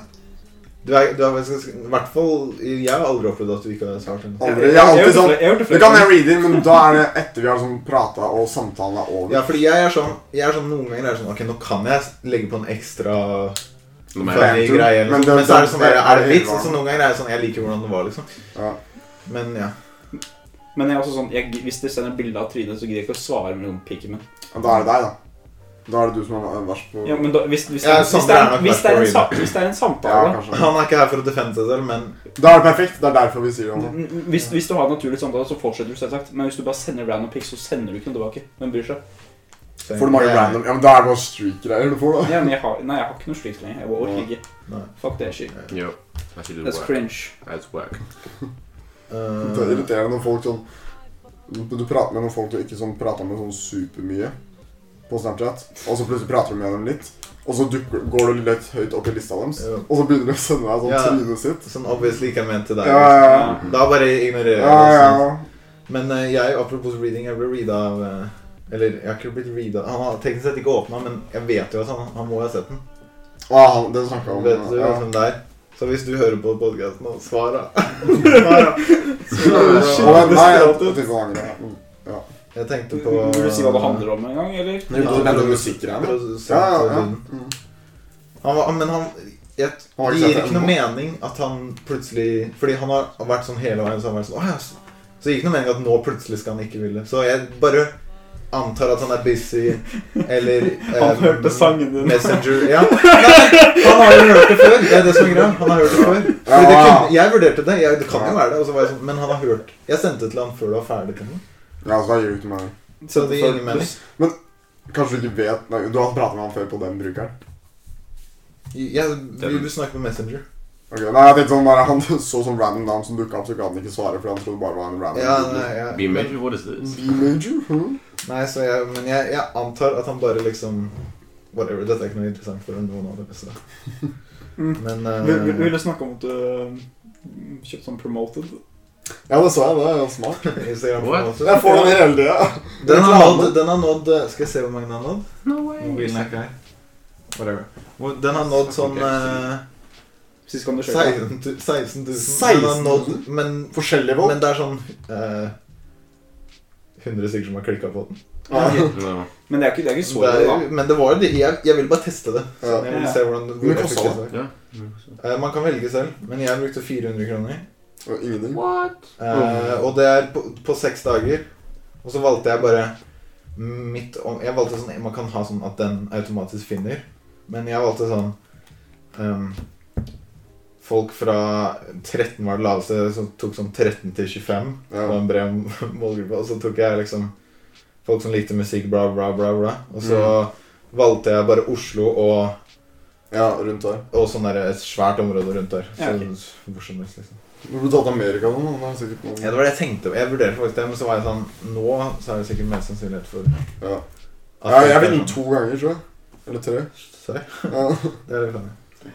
Speaker 2: Du er, du er faktisk, I hvert fall Jeg har aldri opplevd at du ikke har svart ennå.
Speaker 6: Aldri. Jeg er alltid sånn
Speaker 5: Jeg har gjort det
Speaker 6: Det
Speaker 5: flere
Speaker 6: kan jeg
Speaker 5: ganger.
Speaker 6: read in, men da er det etter vi har sånn prata og samtalen er over.
Speaker 2: Ja, fordi jeg er sånn, jeg er sånn Noen ganger er det sånn Ok, nå kan jeg legge på en ekstra
Speaker 4: Nå må
Speaker 2: funny
Speaker 4: jeg-
Speaker 6: Phantom.
Speaker 2: greie. Eller
Speaker 6: Men
Speaker 2: men,
Speaker 6: det-
Speaker 2: men så er det sånn Er, er det
Speaker 6: det-
Speaker 2: vits? Og så noen ganger er det sånn Jeg liker hvordan det var, liksom.
Speaker 6: Ja.
Speaker 2: Men ja.
Speaker 5: Men jeg er også sånn, jeg, hvis de sender bilde av trynet, så gidder jeg ikke å svare med noen pikken min.
Speaker 6: Og Da er det deg, da. Da er det du som er verst på
Speaker 5: Ja, men da, hvis, hvis, det-
Speaker 2: Ja,
Speaker 5: hvis, det
Speaker 2: Sander er
Speaker 5: er,
Speaker 2: nok
Speaker 5: hvis,
Speaker 2: best
Speaker 5: det er
Speaker 2: på å
Speaker 5: en, sa- hvis det er en
Speaker 6: Ja,
Speaker 5: samtale
Speaker 6: kanskje.
Speaker 2: Han er ikke her for å defende seg selv, men
Speaker 6: Da er det perfekt. Det er derfor vi sier det. nå.
Speaker 5: N- hvis, hvis du har en naturlig samtale, så fortsetter du selvsagt. Men hvis du bare sender random pics, så sender du ikke noe tilbake. Hvem bryr seg?
Speaker 6: Får du mange
Speaker 2: Jeg-
Speaker 6: random Ja, men da er det bare streak-greier du får, da.
Speaker 5: Ja, men jeg har, nei, jeg har ikke noe slikt lenger. Jeg orker ikke.
Speaker 2: Nei.
Speaker 5: Fuck det shit.
Speaker 4: Yo, that's a little
Speaker 5: That's
Speaker 4: whack.
Speaker 5: cringe.
Speaker 4: That's whack.
Speaker 2: øh,
Speaker 6: Det er irriterende når folk sånn Du prater med noen folk du ikke sånn prater med sånn supermye på Snapchat, og så plutselig prater du med dem litt, og så dukker, går du litt høyt opp i lista deres,
Speaker 2: jo,
Speaker 6: og så begynner du å sende deg sånn
Speaker 2: Ja.
Speaker 6: trynet sitt.
Speaker 2: sånn obviously ikke er ment til deg. liksom.
Speaker 6: Ja, ja, ja.
Speaker 5: Ja.
Speaker 2: Da bare ignorerer jeg
Speaker 6: ja,
Speaker 2: det.
Speaker 6: ja,
Speaker 2: Sånn.
Speaker 6: ja.
Speaker 2: Men eh, jeg, apropos reading, jeg ble reada av eh, Eller jeg har ikke blitt reada Han har teknisk sett ikke åpna, men jeg vet jo at han, han må ha sett den.
Speaker 6: Ah, han, den snakka om
Speaker 2: Vet du
Speaker 6: ja.
Speaker 2: hvem det er? Så hvis du hører på podkasten, svar, da. Svar, da.
Speaker 6: Ja, men nei, jeg tenkte på han, ja. Mm,
Speaker 2: Jeg tenkte på
Speaker 5: Vil du si hva det handler om en gang, eller?
Speaker 2: Nei,
Speaker 6: Ja,
Speaker 2: du-
Speaker 6: den musikkgreiene.
Speaker 2: Produsent,
Speaker 6: Ja, ja, ja.
Speaker 2: og-
Speaker 6: Mm.
Speaker 2: Han var, men han jeg,
Speaker 6: Han har
Speaker 2: Det
Speaker 6: ikke
Speaker 2: gir
Speaker 6: sett
Speaker 2: ikke
Speaker 6: det
Speaker 2: noe mening at han plutselig Fordi han har vært sånn hele veien. Så han har vært sånn, «Åh, ja, så- så det gir ikke noe mening at nå plutselig skal han ikke ville. Så jeg bare antar at han er busy, eller eh,
Speaker 5: sangen
Speaker 2: Messenger Ja. Nei, han har jo hørt det før. Det er det som er greia. Han har hørt det før. Fordi det kunne, jeg vurderte det. Jeg, det kan jo være det. Og så var jeg sånn, men han har hørt Jeg sendte det til han før du var ferdig. til han.
Speaker 6: Ja, så da gir du ikke meg
Speaker 2: Så det gir ingen mening.
Speaker 6: Kanskje du ikke vet Nei, du har pratet med han før på den brukeren.
Speaker 2: Jeg, vi vil snakke med Messenger.
Speaker 6: Ok, Nei, jeg tenkte sånn bare Han så sånn random navn som dukka opp, så kan han ikke svare, for han trodde bare det var en random
Speaker 2: Ja,
Speaker 6: bruker.
Speaker 2: nei, ja.
Speaker 4: Be major, what is this?
Speaker 6: B-major? Hm?
Speaker 2: Nei, så jeg, men jeg, jeg antar at han bare liksom Whatever, dette er ikke noe interessant for noen av dere. Så.
Speaker 5: Mm.
Speaker 2: Men
Speaker 5: Vi vi- vi
Speaker 2: eh,
Speaker 5: ville snakke om at du øh, kjøpte sånn promoted.
Speaker 6: Ja, det sa jeg. Det er jo smart.
Speaker 2: Instagram
Speaker 4: What?
Speaker 2: også.
Speaker 6: Jeg får den hele tida.
Speaker 2: Den har nådd, den har nådd eh, Skal jeg se hvor mange den har nådd? Mobilen er ikke her. Whatever. Hvor- Den har nådd sånn
Speaker 4: Ok.
Speaker 2: eh,
Speaker 5: Sist kan du kjøpe.
Speaker 2: 16 tu- 16 000.
Speaker 6: 16 000?
Speaker 2: Den har nådd- Men,
Speaker 6: Forskjellige folk.
Speaker 2: men det er sånn eh, 100 stykker som har klikka på den.
Speaker 6: Ja.
Speaker 4: No.
Speaker 5: Men det er ikke, det er ikke så
Speaker 2: det
Speaker 5: ille, da.
Speaker 2: er, men det var jo det. Jeg, jeg ville bare teste det.
Speaker 6: Ja.
Speaker 2: Sånn, jeg ville
Speaker 5: Ja.
Speaker 2: se hvordan
Speaker 6: Men
Speaker 2: hvor
Speaker 6: hva
Speaker 2: effektivt
Speaker 6: sa
Speaker 2: det var.
Speaker 4: Ja.
Speaker 2: Eh, man kan velge selv, men jeg brukte 400 kroner.
Speaker 6: Og ingenting.
Speaker 2: Eh, og det er på, på seks dager. Og så valgte jeg bare midt om Jeg valgte sånn Man kan ha sånn at den automatisk finner, men jeg valgte sånn ehm, Folk fra 13 var det laveste, som tok sånn 13 til 25. Det
Speaker 6: Ja.
Speaker 2: var en bred målgruppe. Og så tok jeg liksom folk som likte musikk, bla, bla, bla. bla. Og så
Speaker 5: Mm.
Speaker 2: valgte jeg bare Oslo og,
Speaker 6: ja, rundt der.
Speaker 2: og sånn der et svært område rundt der. Så
Speaker 5: Ja, ok.
Speaker 2: hvor som helst, liksom.
Speaker 6: Når du tatt Amerika nå, da er det sikkert
Speaker 2: Ja,
Speaker 6: noen
Speaker 2: det var det jeg tenkte. Jeg vurderte faktisk det, men så var jeg sånn Nå så er det sikkert mer sannsynlighet for
Speaker 6: Ja.
Speaker 2: at
Speaker 6: Ja, jeg
Speaker 2: det er
Speaker 6: fikk den
Speaker 2: sånn.
Speaker 6: to ganger, tror jeg. Eller tre.
Speaker 2: Sorry.
Speaker 6: Ja.
Speaker 2: Det er litt funny.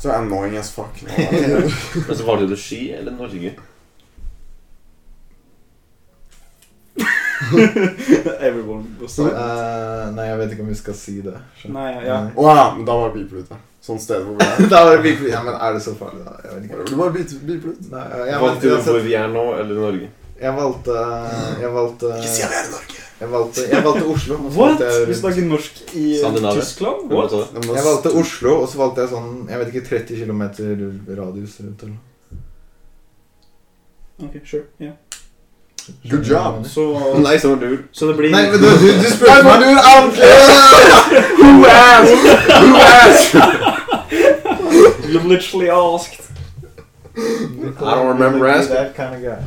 Speaker 6: Så annoying as fuck. Ja.
Speaker 4: Men så valgte du ski eller Norge?
Speaker 5: Everyone was
Speaker 6: Mm.
Speaker 5: like
Speaker 2: Eh, nei, jeg vet ikke om vi skal si det.
Speaker 5: Nei, ja, ja.
Speaker 6: Å ja, men da var det beeper ut, ja. Sånn sted hvor vi er.
Speaker 2: da var det virkelig Ja, men er det så farlig, da? Jeg vet ikke.
Speaker 6: Du bare beeper beeper ut.
Speaker 2: Nei, eh, jeg,
Speaker 4: Valgte du
Speaker 2: valgte,
Speaker 4: hvor vi er nå, eller Norge?
Speaker 2: jeg valgte eh, Jeg valgte
Speaker 6: Ikke si at jeg er i Norge.
Speaker 2: Jeg valgte, jeg valgte Oslo. og så
Speaker 5: What?
Speaker 2: valgte jeg
Speaker 5: Du
Speaker 2: rundt.
Speaker 5: snakker norsk i eh,
Speaker 4: Skandinavia.
Speaker 5: Tyskland?
Speaker 4: Hvem
Speaker 5: What?
Speaker 4: sa det?
Speaker 6: Ja, men da-
Speaker 2: Jeg valgte Oslo, og så valgte jeg sånn Jeg vet ikke 30 km radius rundt eller noe.
Speaker 5: Ok, sure. ja.
Speaker 6: Good job.
Speaker 5: Så, uh,
Speaker 6: Nei, så var det lur.
Speaker 5: så det blir
Speaker 2: Nei, men du, du, du spurte
Speaker 6: Nei, men
Speaker 2: meg
Speaker 6: du er out! Who ass? Who ass?
Speaker 5: You literally asked.
Speaker 4: I don't remember asking.
Speaker 2: That kind of guy.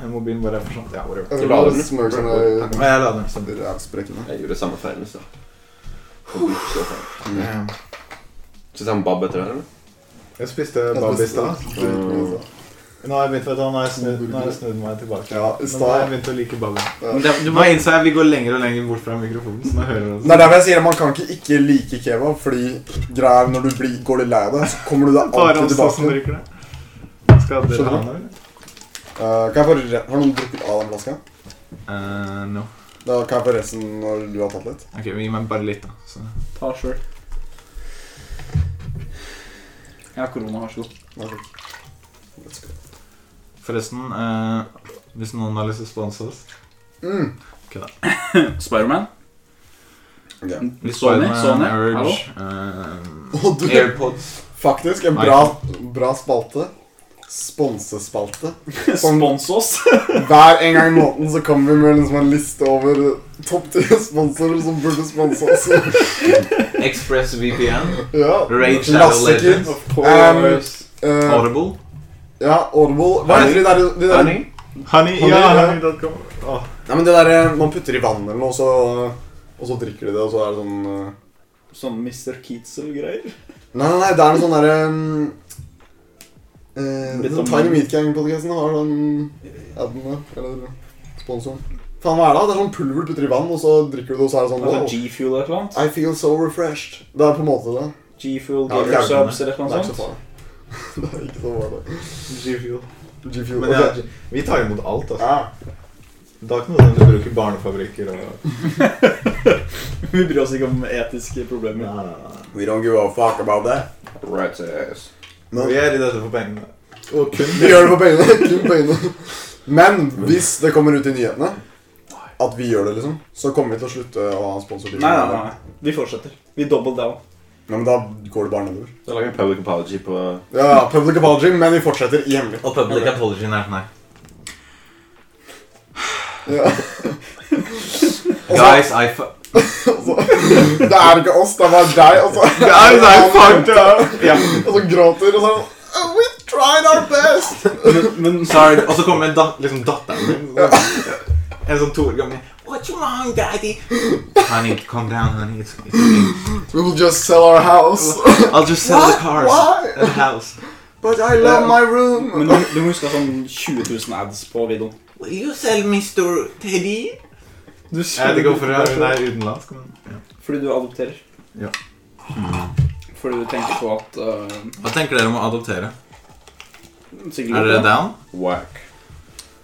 Speaker 2: Nei, Mobilen bare forsvant. Ja, whatever.
Speaker 6: Jeg tror bare det smører sånn
Speaker 2: Men jeg la den samtidig.
Speaker 6: der rævsprekkene.
Speaker 4: Jeg gjorde samme feilen i stad. Og du så feil.
Speaker 2: Ja.
Speaker 4: Syns han Bab etter det,
Speaker 2: Jeg spiste babb i stad.
Speaker 6: Dritmye, da.
Speaker 2: Nå har jeg begynt vet du, nå har jeg snudd, nå har jeg snudd meg tilbake.
Speaker 6: Ja, i
Speaker 2: Men nå har jeg
Speaker 6: stad.
Speaker 2: begynt å like babb.
Speaker 1: Men det, du må innse at vi går lenger og lenger bort fra mikrofonen. Så nå hører
Speaker 6: Det
Speaker 1: du
Speaker 6: er derfor jeg sier at man kan ikke ikke like kebab, fordi greia er når du blir, går litt lei av det, så kommer du deg
Speaker 1: Bare
Speaker 6: alltid
Speaker 1: om som
Speaker 6: tilbake.
Speaker 1: drikker det. Skal dere ha
Speaker 6: Skjønner du?
Speaker 1: noe, eller?
Speaker 6: Eh, kan jeg få re- Har noen drukket av den flaska?
Speaker 1: Eh, no.
Speaker 6: Da kan jeg få resten når du har tatt litt.
Speaker 1: Ok, men Gi meg bare litt, da. Så.
Speaker 5: Ta sjøl. Jeg har korona, vær så god.
Speaker 6: Nei, takk. Let's go.
Speaker 7: Forresten, eh, hvis noen har lyst til å sponse oss
Speaker 6: Mm.
Speaker 5: Spiderman?
Speaker 6: Ok.
Speaker 5: Sony? Sony? Hallo?
Speaker 7: Urge, eh,
Speaker 6: Og du,
Speaker 7: AirPods
Speaker 6: faktisk en bra, bra spalte. Sponsespalte.
Speaker 5: Spons oss!
Speaker 6: Hver en gang i måneden så kommer vi med liksom en liste over topp ti sponsorer som burde sponse oss.
Speaker 7: Express VPN,
Speaker 6: Ja.
Speaker 2: Raid Shadow
Speaker 6: Klassiker.
Speaker 2: Legends.
Speaker 6: Um, eh,
Speaker 2: Audible.
Speaker 6: ja, Audible Hva heter de der, de der
Speaker 2: Honey? Honey,
Speaker 6: Honey,
Speaker 2: ja,
Speaker 6: ja.
Speaker 2: honey.com.
Speaker 6: Nei, men det der eh, man putter i vann eller noe, så, og så drikker de det, og så er det sånn eh,
Speaker 5: Sånn Mr. Keatzel-greier.
Speaker 6: Nei, nei, nei, det er noe sånn derre um, eh,
Speaker 5: Litt
Speaker 6: sånn
Speaker 5: om-
Speaker 6: Tiny Meat Gang-podkasten har sånn aden der, eller sponsoren. Faen, hva er det? da? Det er sånn pulver du putter i vann, og så drikker du det, og så er det sånn wow,
Speaker 5: altså G-Fuel eller noe sånt.
Speaker 6: I feel so refreshed. Det er på en måte det.
Speaker 5: G-Fuel,
Speaker 6: Ja,
Speaker 5: Gamer
Speaker 6: det er-
Speaker 5: Subs eller
Speaker 6: Det
Speaker 5: noe
Speaker 6: er ikke så
Speaker 5: sånt.
Speaker 6: farlig. det er ikke så farlig.
Speaker 2: G-Fuel.
Speaker 6: G-Fuel.
Speaker 2: Men ja,
Speaker 6: ok.
Speaker 2: vi tar imot alt, altså.
Speaker 6: Ja.
Speaker 2: Da kan du bruke barnefabrikker og
Speaker 5: Vi bryr oss ikke om etiske problemer.
Speaker 2: Nei, nei, nei.
Speaker 6: We don't give a fuck about that.
Speaker 4: Right ass.
Speaker 6: Men,
Speaker 2: Vi er i dette for pengene.
Speaker 6: og kun, vi gjør det på pengene. Kun pengene. Men hvis det kommer ut i nyhetene at vi gjør det, liksom, så kommer vi til å slutte å ha sponsorbiler.
Speaker 5: Nei, nei, nei. Vi fortsetter. Vi double down.
Speaker 6: Nei, men da går det bare nedover.
Speaker 8: Så lag en public apology på
Speaker 6: Ja, ja, public apology, men vi fortsetter i hemmelig.
Speaker 7: og Public Apology Nei. nei.
Speaker 6: Ja.
Speaker 7: Guys, I fu...
Speaker 6: Det er ikke oss, det er bare deg. altså. Og så,
Speaker 2: Guys, I fucked up! Ja.
Speaker 6: og så gråter og sånn oh, We tried our best!
Speaker 5: Men, men
Speaker 2: Sorry. Og så kommer da, liksom datteren min. sånn- En sånn to år gammel What's wrong, daddy? Honey, calm down, honey. It's, it's okay.
Speaker 6: We will just sell our house.
Speaker 2: I'll just sell the cars
Speaker 6: Why?
Speaker 2: and the house.
Speaker 6: But I love my room.
Speaker 5: men du, du må huske at sånn 20 000 ads på videoen.
Speaker 2: Will you sell Mr. Teddy?
Speaker 5: Du
Speaker 2: Jeg vet ikke hvorfor hun er utenlandsk. Men, ja.
Speaker 5: Fordi du adopterer.
Speaker 2: Ja.
Speaker 5: Mm. Fordi du tenker på at øh,
Speaker 2: Hva tenker dere om å adoptere?
Speaker 5: sikkert-
Speaker 2: Er dere down?
Speaker 4: whack.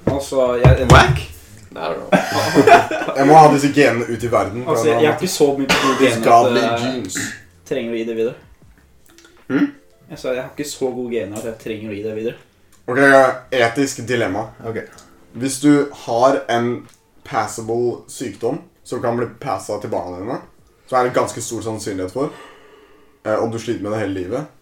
Speaker 5: Altså, jeg,
Speaker 2: Whack?
Speaker 4: I don't know.
Speaker 6: Jeg må ha disse genene ut i verden.
Speaker 5: altså, jeg, jeg er ikke så mye på god gen at
Speaker 6: Skadelig
Speaker 5: øh,
Speaker 6: jeans.
Speaker 5: trenger å gi det videre.
Speaker 4: Hm?
Speaker 5: Jeg sa jeg har ikke så god gene at jeg trenger å gi det videre.
Speaker 6: Ok, etisk dilemma.
Speaker 2: Ok.
Speaker 6: Hvis du har en passable sykdom som kan bli passa til barna dine, som er det ganske stor sannsynlighet for, eh, og du sliter med det hele livet,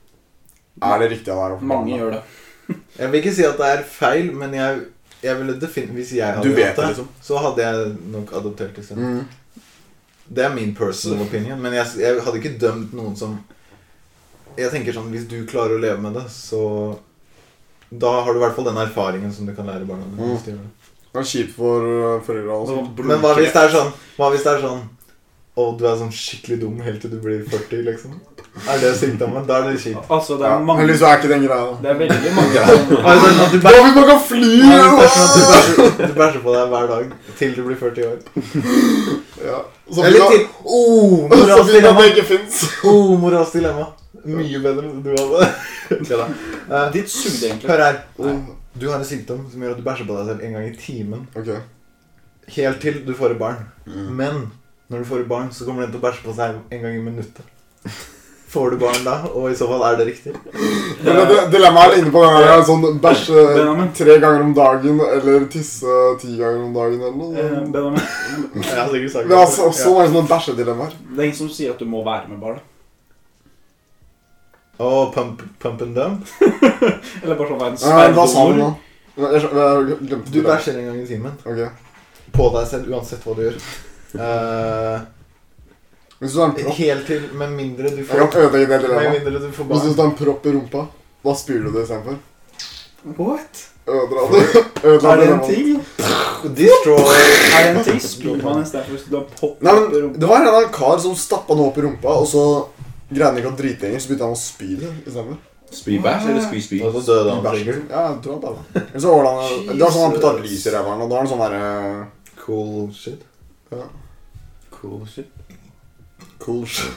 Speaker 6: er det riktig av deg å få
Speaker 5: Mange
Speaker 6: barna?
Speaker 5: gjør det.
Speaker 2: Jeg vil ikke si at det er feil, men jeg, jeg ville definitivt Hvis jeg hadde
Speaker 6: Du vet
Speaker 2: hatt
Speaker 6: det, liksom.
Speaker 2: så hadde jeg nok adoptert isteden.
Speaker 6: Mm.
Speaker 2: Det er min personal opinion, men jeg, jeg hadde ikke dømt noen som Jeg tenker sånn, Hvis du klarer å leve med det, så Da har du i hvert fall den erfaringen som du kan lære barna dine.
Speaker 6: Mm.
Speaker 2: hvis de gjør det.
Speaker 6: Det er kjipt for eh, foreldre og sånn.
Speaker 2: Men hva hvis det er sånn Hva hvis det er sånn Å, du er sånn skikkelig dum helt til du blir 40, liksom? Er det sykdommen? Da er det kjipt.
Speaker 5: Altså, det
Speaker 6: Ja.
Speaker 5: er
Speaker 6: Men
Speaker 5: mange
Speaker 6: liksom er ikke den greia, da.
Speaker 5: Det er veldig mange som
Speaker 2: Hva hvis det er sånn at du
Speaker 6: Da
Speaker 2: bæ-
Speaker 6: vil man kan fly!
Speaker 2: Hva hvis det er sånn at du bæsjer du bæsjer på deg hver dag til du blir 40 år?
Speaker 6: Ja. Så
Speaker 2: Eller
Speaker 6: blir det
Speaker 2: til oh,
Speaker 6: så
Speaker 2: moras
Speaker 6: blir det at
Speaker 2: dilemma.
Speaker 6: det ikke fins.
Speaker 2: Oh, moras dilemma. Mye bedre enn du hadde. Ja, da. Eh,
Speaker 5: Ditt sugde, egentlig.
Speaker 2: Hør her.
Speaker 6: Oh,
Speaker 2: Du har en sykdom som gjør at du bæsjer på deg selv en gang i timen.
Speaker 6: ok.
Speaker 2: Helt til du får et barn.
Speaker 6: Mm.
Speaker 2: Men når du får et barn, så kommer den til å bæsje på seg en gang i minuttet. Får du barn da? Og i så fall, er det riktig?
Speaker 6: Men det, det- dilemmaet er inne på den her, ja, sånn bæsje
Speaker 5: Benjamin.
Speaker 6: tre ganger om dagen eller tisse ti ganger om dagen eller noe.
Speaker 5: Eh, Benjamin,
Speaker 2: Jeg har sikkert sagt
Speaker 6: Men altså, også er det sånne bæsjedilemmaer.
Speaker 5: det er ingen som sier at du må være med barnet.
Speaker 2: Å, pump, pump and dump?
Speaker 5: Eller bare sånn være en
Speaker 6: Eh, Hva sa du
Speaker 5: sperrdonor.
Speaker 6: nå? Jeg, jeg, jeg glemte
Speaker 2: Du
Speaker 6: det.
Speaker 2: bæsjer en gang i timen.
Speaker 6: Ok.
Speaker 2: På deg selv, uansett hva du gjør. Eh,
Speaker 6: Hvis du har en propp
Speaker 2: helt til Med mindre du
Speaker 6: Jeg kan
Speaker 2: får
Speaker 6: ødelegge det
Speaker 2: Med
Speaker 6: dilemmaet.
Speaker 2: mindre du får
Speaker 6: Hvis
Speaker 2: barn.
Speaker 6: du har en propp i rumpa, hva spyr du det istedenfor?
Speaker 5: What?
Speaker 6: Ødela det. Ødela
Speaker 5: Er det en
Speaker 6: dilemmaet.
Speaker 5: ting?
Speaker 2: Destroy
Speaker 5: Er det en ting? Spyr man istedenfor hvis du har poppet
Speaker 6: Nei,
Speaker 5: opp i
Speaker 6: men
Speaker 5: rumpa?
Speaker 6: Det var en eller annen kar som stappa noe opp i rumpa, og så greide han ikke å drite lenger, så begynte han å spy det istedenfor.
Speaker 4: Spybæsj eller spyspy?
Speaker 2: Og så døde han
Speaker 6: Bæsj.
Speaker 2: sikkert.
Speaker 6: Ja, jeg tror han dæva. Eller så var det han Det var sånn han putta lys i ræva, og da har han sånn derre
Speaker 2: Cool shit.
Speaker 4: Cool shit.
Speaker 6: Cool shit.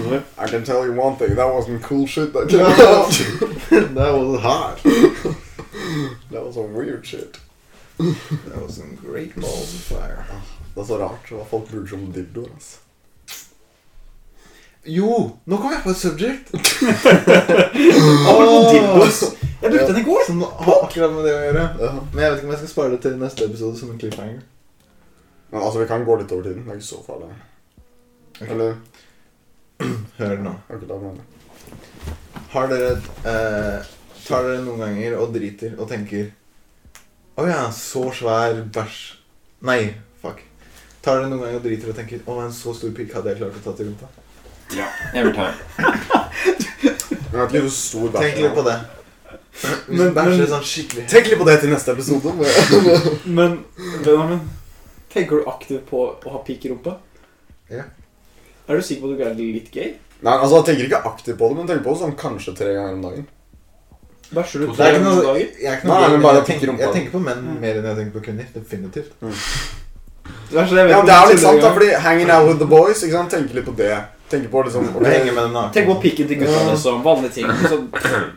Speaker 4: Nei.
Speaker 6: I can tell you one thing, that wasn't cool shit. That,
Speaker 2: That was hard.
Speaker 6: that was some weird shit.
Speaker 2: That was some great balls of fire.
Speaker 6: Det er så rart hva folk bruker som dildoer. ass.
Speaker 2: Jo, nå kom jeg på et subject
Speaker 5: Åh, dildos. Jeg brukte den i går.
Speaker 2: som har akkurat med det å gjøre.
Speaker 6: Ja.
Speaker 2: Men jeg vet ikke om jeg skal spare det til neste episode som en cliffhanger.
Speaker 6: Men altså, vi kan gå litt over tiden. Det er ikke så farlig. Eller
Speaker 2: Hør nå.
Speaker 6: ok, da mener jeg.
Speaker 2: Har dere eh, Tar dere noen ganger og driter og tenker Å ja, så svær bæsj Nei, fuck. Tar dere noen ganger og driter og tenker Å, en så stor pikk hadde jeg klart å ta til rumpa?
Speaker 4: Every time.
Speaker 6: Men Jeg vet ikke hvor stor bæsjen
Speaker 2: Tenk litt på det. Hvis
Speaker 5: Men-
Speaker 2: bæsj
Speaker 5: men-
Speaker 2: er sånn skikkelig
Speaker 6: Tenk litt på det til neste episode. hvor-
Speaker 5: Men Benjamin, tenker du aktivt på å ha pikk i rumpa?
Speaker 2: Ja.
Speaker 5: Er du sikker på at du ikke er litt gay?
Speaker 6: Nei, altså, jeg tenker ikke aktivt på det, men tenker på det sånn kanskje tre ganger om dagen.
Speaker 5: Bæsjer du
Speaker 2: Det er ikke noe,
Speaker 5: dager?
Speaker 2: jeg, er ikke
Speaker 6: Nei,
Speaker 2: noe
Speaker 6: men
Speaker 2: gay,
Speaker 6: bare pikk
Speaker 2: jeg,
Speaker 6: i
Speaker 2: tenker,
Speaker 6: rumpa.
Speaker 2: jeg tenker på menn
Speaker 5: Mm.
Speaker 2: mer enn jeg tenker på kvinner. Definitivt.
Speaker 5: Det er så jeg vet
Speaker 6: Ja,
Speaker 5: om
Speaker 6: men Det er jo litt
Speaker 5: tuller
Speaker 6: sant, da,
Speaker 5: engang.
Speaker 6: fordi hanging out with the boys, ikke sant? Tenker litt på det. Tenker på liksom
Speaker 2: Jeg henger
Speaker 6: ok,
Speaker 2: med den naken.
Speaker 5: Tenk på pikken til gutta
Speaker 6: Ja.
Speaker 5: også. Vanlige ting. liksom. Så,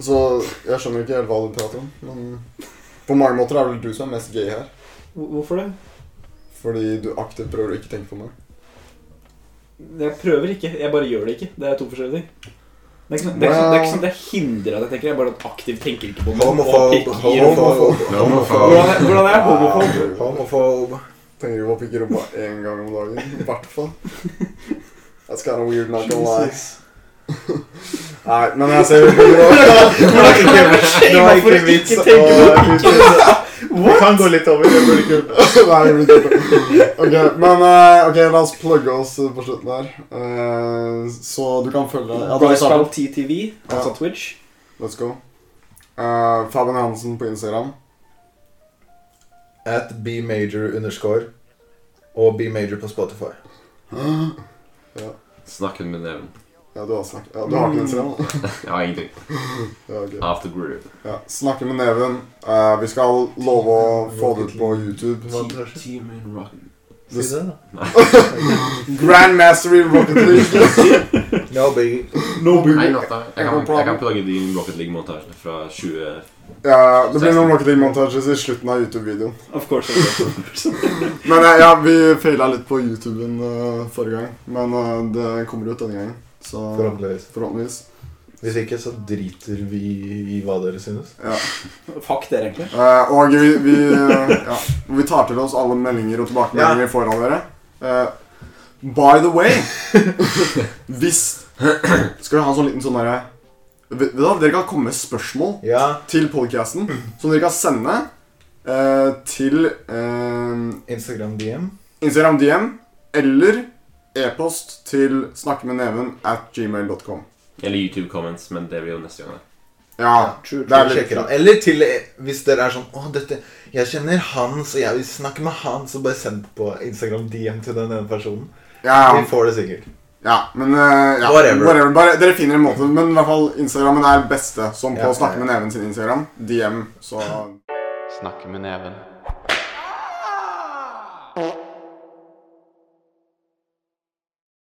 Speaker 6: Så jeg skjønner ikke helt hva du prater om, men på mange måter er det vel du som er mest gay her.
Speaker 5: hvor- hvorfor det?
Speaker 6: Fordi du aktivt prøver å ikke tenke på meg.
Speaker 5: Jeg prøver ikke. Jeg bare gjør det ikke. Det er to forskjellige ting. Det er ikke sånn det, er ikke sånn- det, er ikke sånn at jeg hindrer at jeg tenker. Jeg bare aktivt tenker ikke på noe. Og
Speaker 2: Homofob,
Speaker 5: pikk i rumpa.
Speaker 2: homofob,
Speaker 5: Hvordan er- Hvordan er jeg homofob?
Speaker 2: homofob.
Speaker 6: Tenker ikke på å pikke rumpa én gang om dagen. I hvert fall. That's kind of weird, not gonna lie. Nei, men jeg ser jo ikke
Speaker 2: Det var ikke vits. å- Vi kan gå litt over. Det blir kult.
Speaker 6: Nei, det blir kult. Ok, men eh, ok, la oss plugge oss eh, på slutten her. Eh, så du kan følge ja, da har vi
Speaker 5: Brightspell
Speaker 6: startet.
Speaker 5: TTV, altså
Speaker 6: Ja.
Speaker 5: Twitch.
Speaker 6: Let's go. Eh, Fabian Hansen på Instagram.
Speaker 2: At bmajor underscore og bmajor på Spotify.
Speaker 4: Snakken med neven.
Speaker 6: Ja, du har snakket. Ja, du har ikke Instagram? da?
Speaker 4: Jeg har ingenting.
Speaker 6: Ja, ok.
Speaker 4: After brew.
Speaker 6: Ja, snakke med neven. Eh, vi skal love å få det ut på YouTube.
Speaker 4: Team Rocket.
Speaker 2: Si det, da.
Speaker 6: Grandmastery Rocket League.
Speaker 2: No, baby.
Speaker 6: No
Speaker 4: Nei,
Speaker 6: boo.
Speaker 4: natta. Jeg kan, jeg kan plugge de Rocket League-montasjene fra 20...
Speaker 6: Ja, det blir noen Rocket League-montages i slutten av YouTube-videoen.
Speaker 5: Of course. of course.
Speaker 6: Men eh, ja, vi feila litt på YouTuben eh, forrige gang. Men eh, det kommer ut denne gangen. Så
Speaker 2: Forhåpentligvis.
Speaker 6: forhåpentligvis.
Speaker 2: Hvis ikke, så driter vi i hva dere synes.
Speaker 6: Ja.
Speaker 5: Fuck dere, egentlig.
Speaker 6: Eh, og vi, vi, eh, ja, vi tar til oss alle meldinger og tilbakemeldinger vi får av dere. Eh, by the way Hvis Skal vi ha en sånn liten sånn derre Vet vet du hva, Dere kan komme med spørsmål
Speaker 2: Ja,
Speaker 6: til podcasten som dere kan sende eh, til eh,
Speaker 2: Instagram DM.
Speaker 6: Instagram DM eller e-post til snakkemedneven at gmail.com.
Speaker 4: Eller YouTube comments, men det blir jo neste gang. da.
Speaker 6: Ja,
Speaker 5: True,
Speaker 6: det er
Speaker 2: Vi
Speaker 6: litt
Speaker 2: sjekker han. Eller til hvis dere er sånn Å, dette Jeg kjenner han, så jeg vil snakke med han. Så bare send på Instagram DM til den ene personen.
Speaker 6: Ja,
Speaker 2: Vi får det sikkert.
Speaker 6: ja men eh, ja,
Speaker 2: Whatever.
Speaker 6: Bare, dere finner en måte, men i hvert fall Instagrammen er beste. Som på
Speaker 2: Ja,
Speaker 6: Snakke
Speaker 2: ja,
Speaker 6: med neven sin Instagram. DM, så
Speaker 9: Snakke med neven.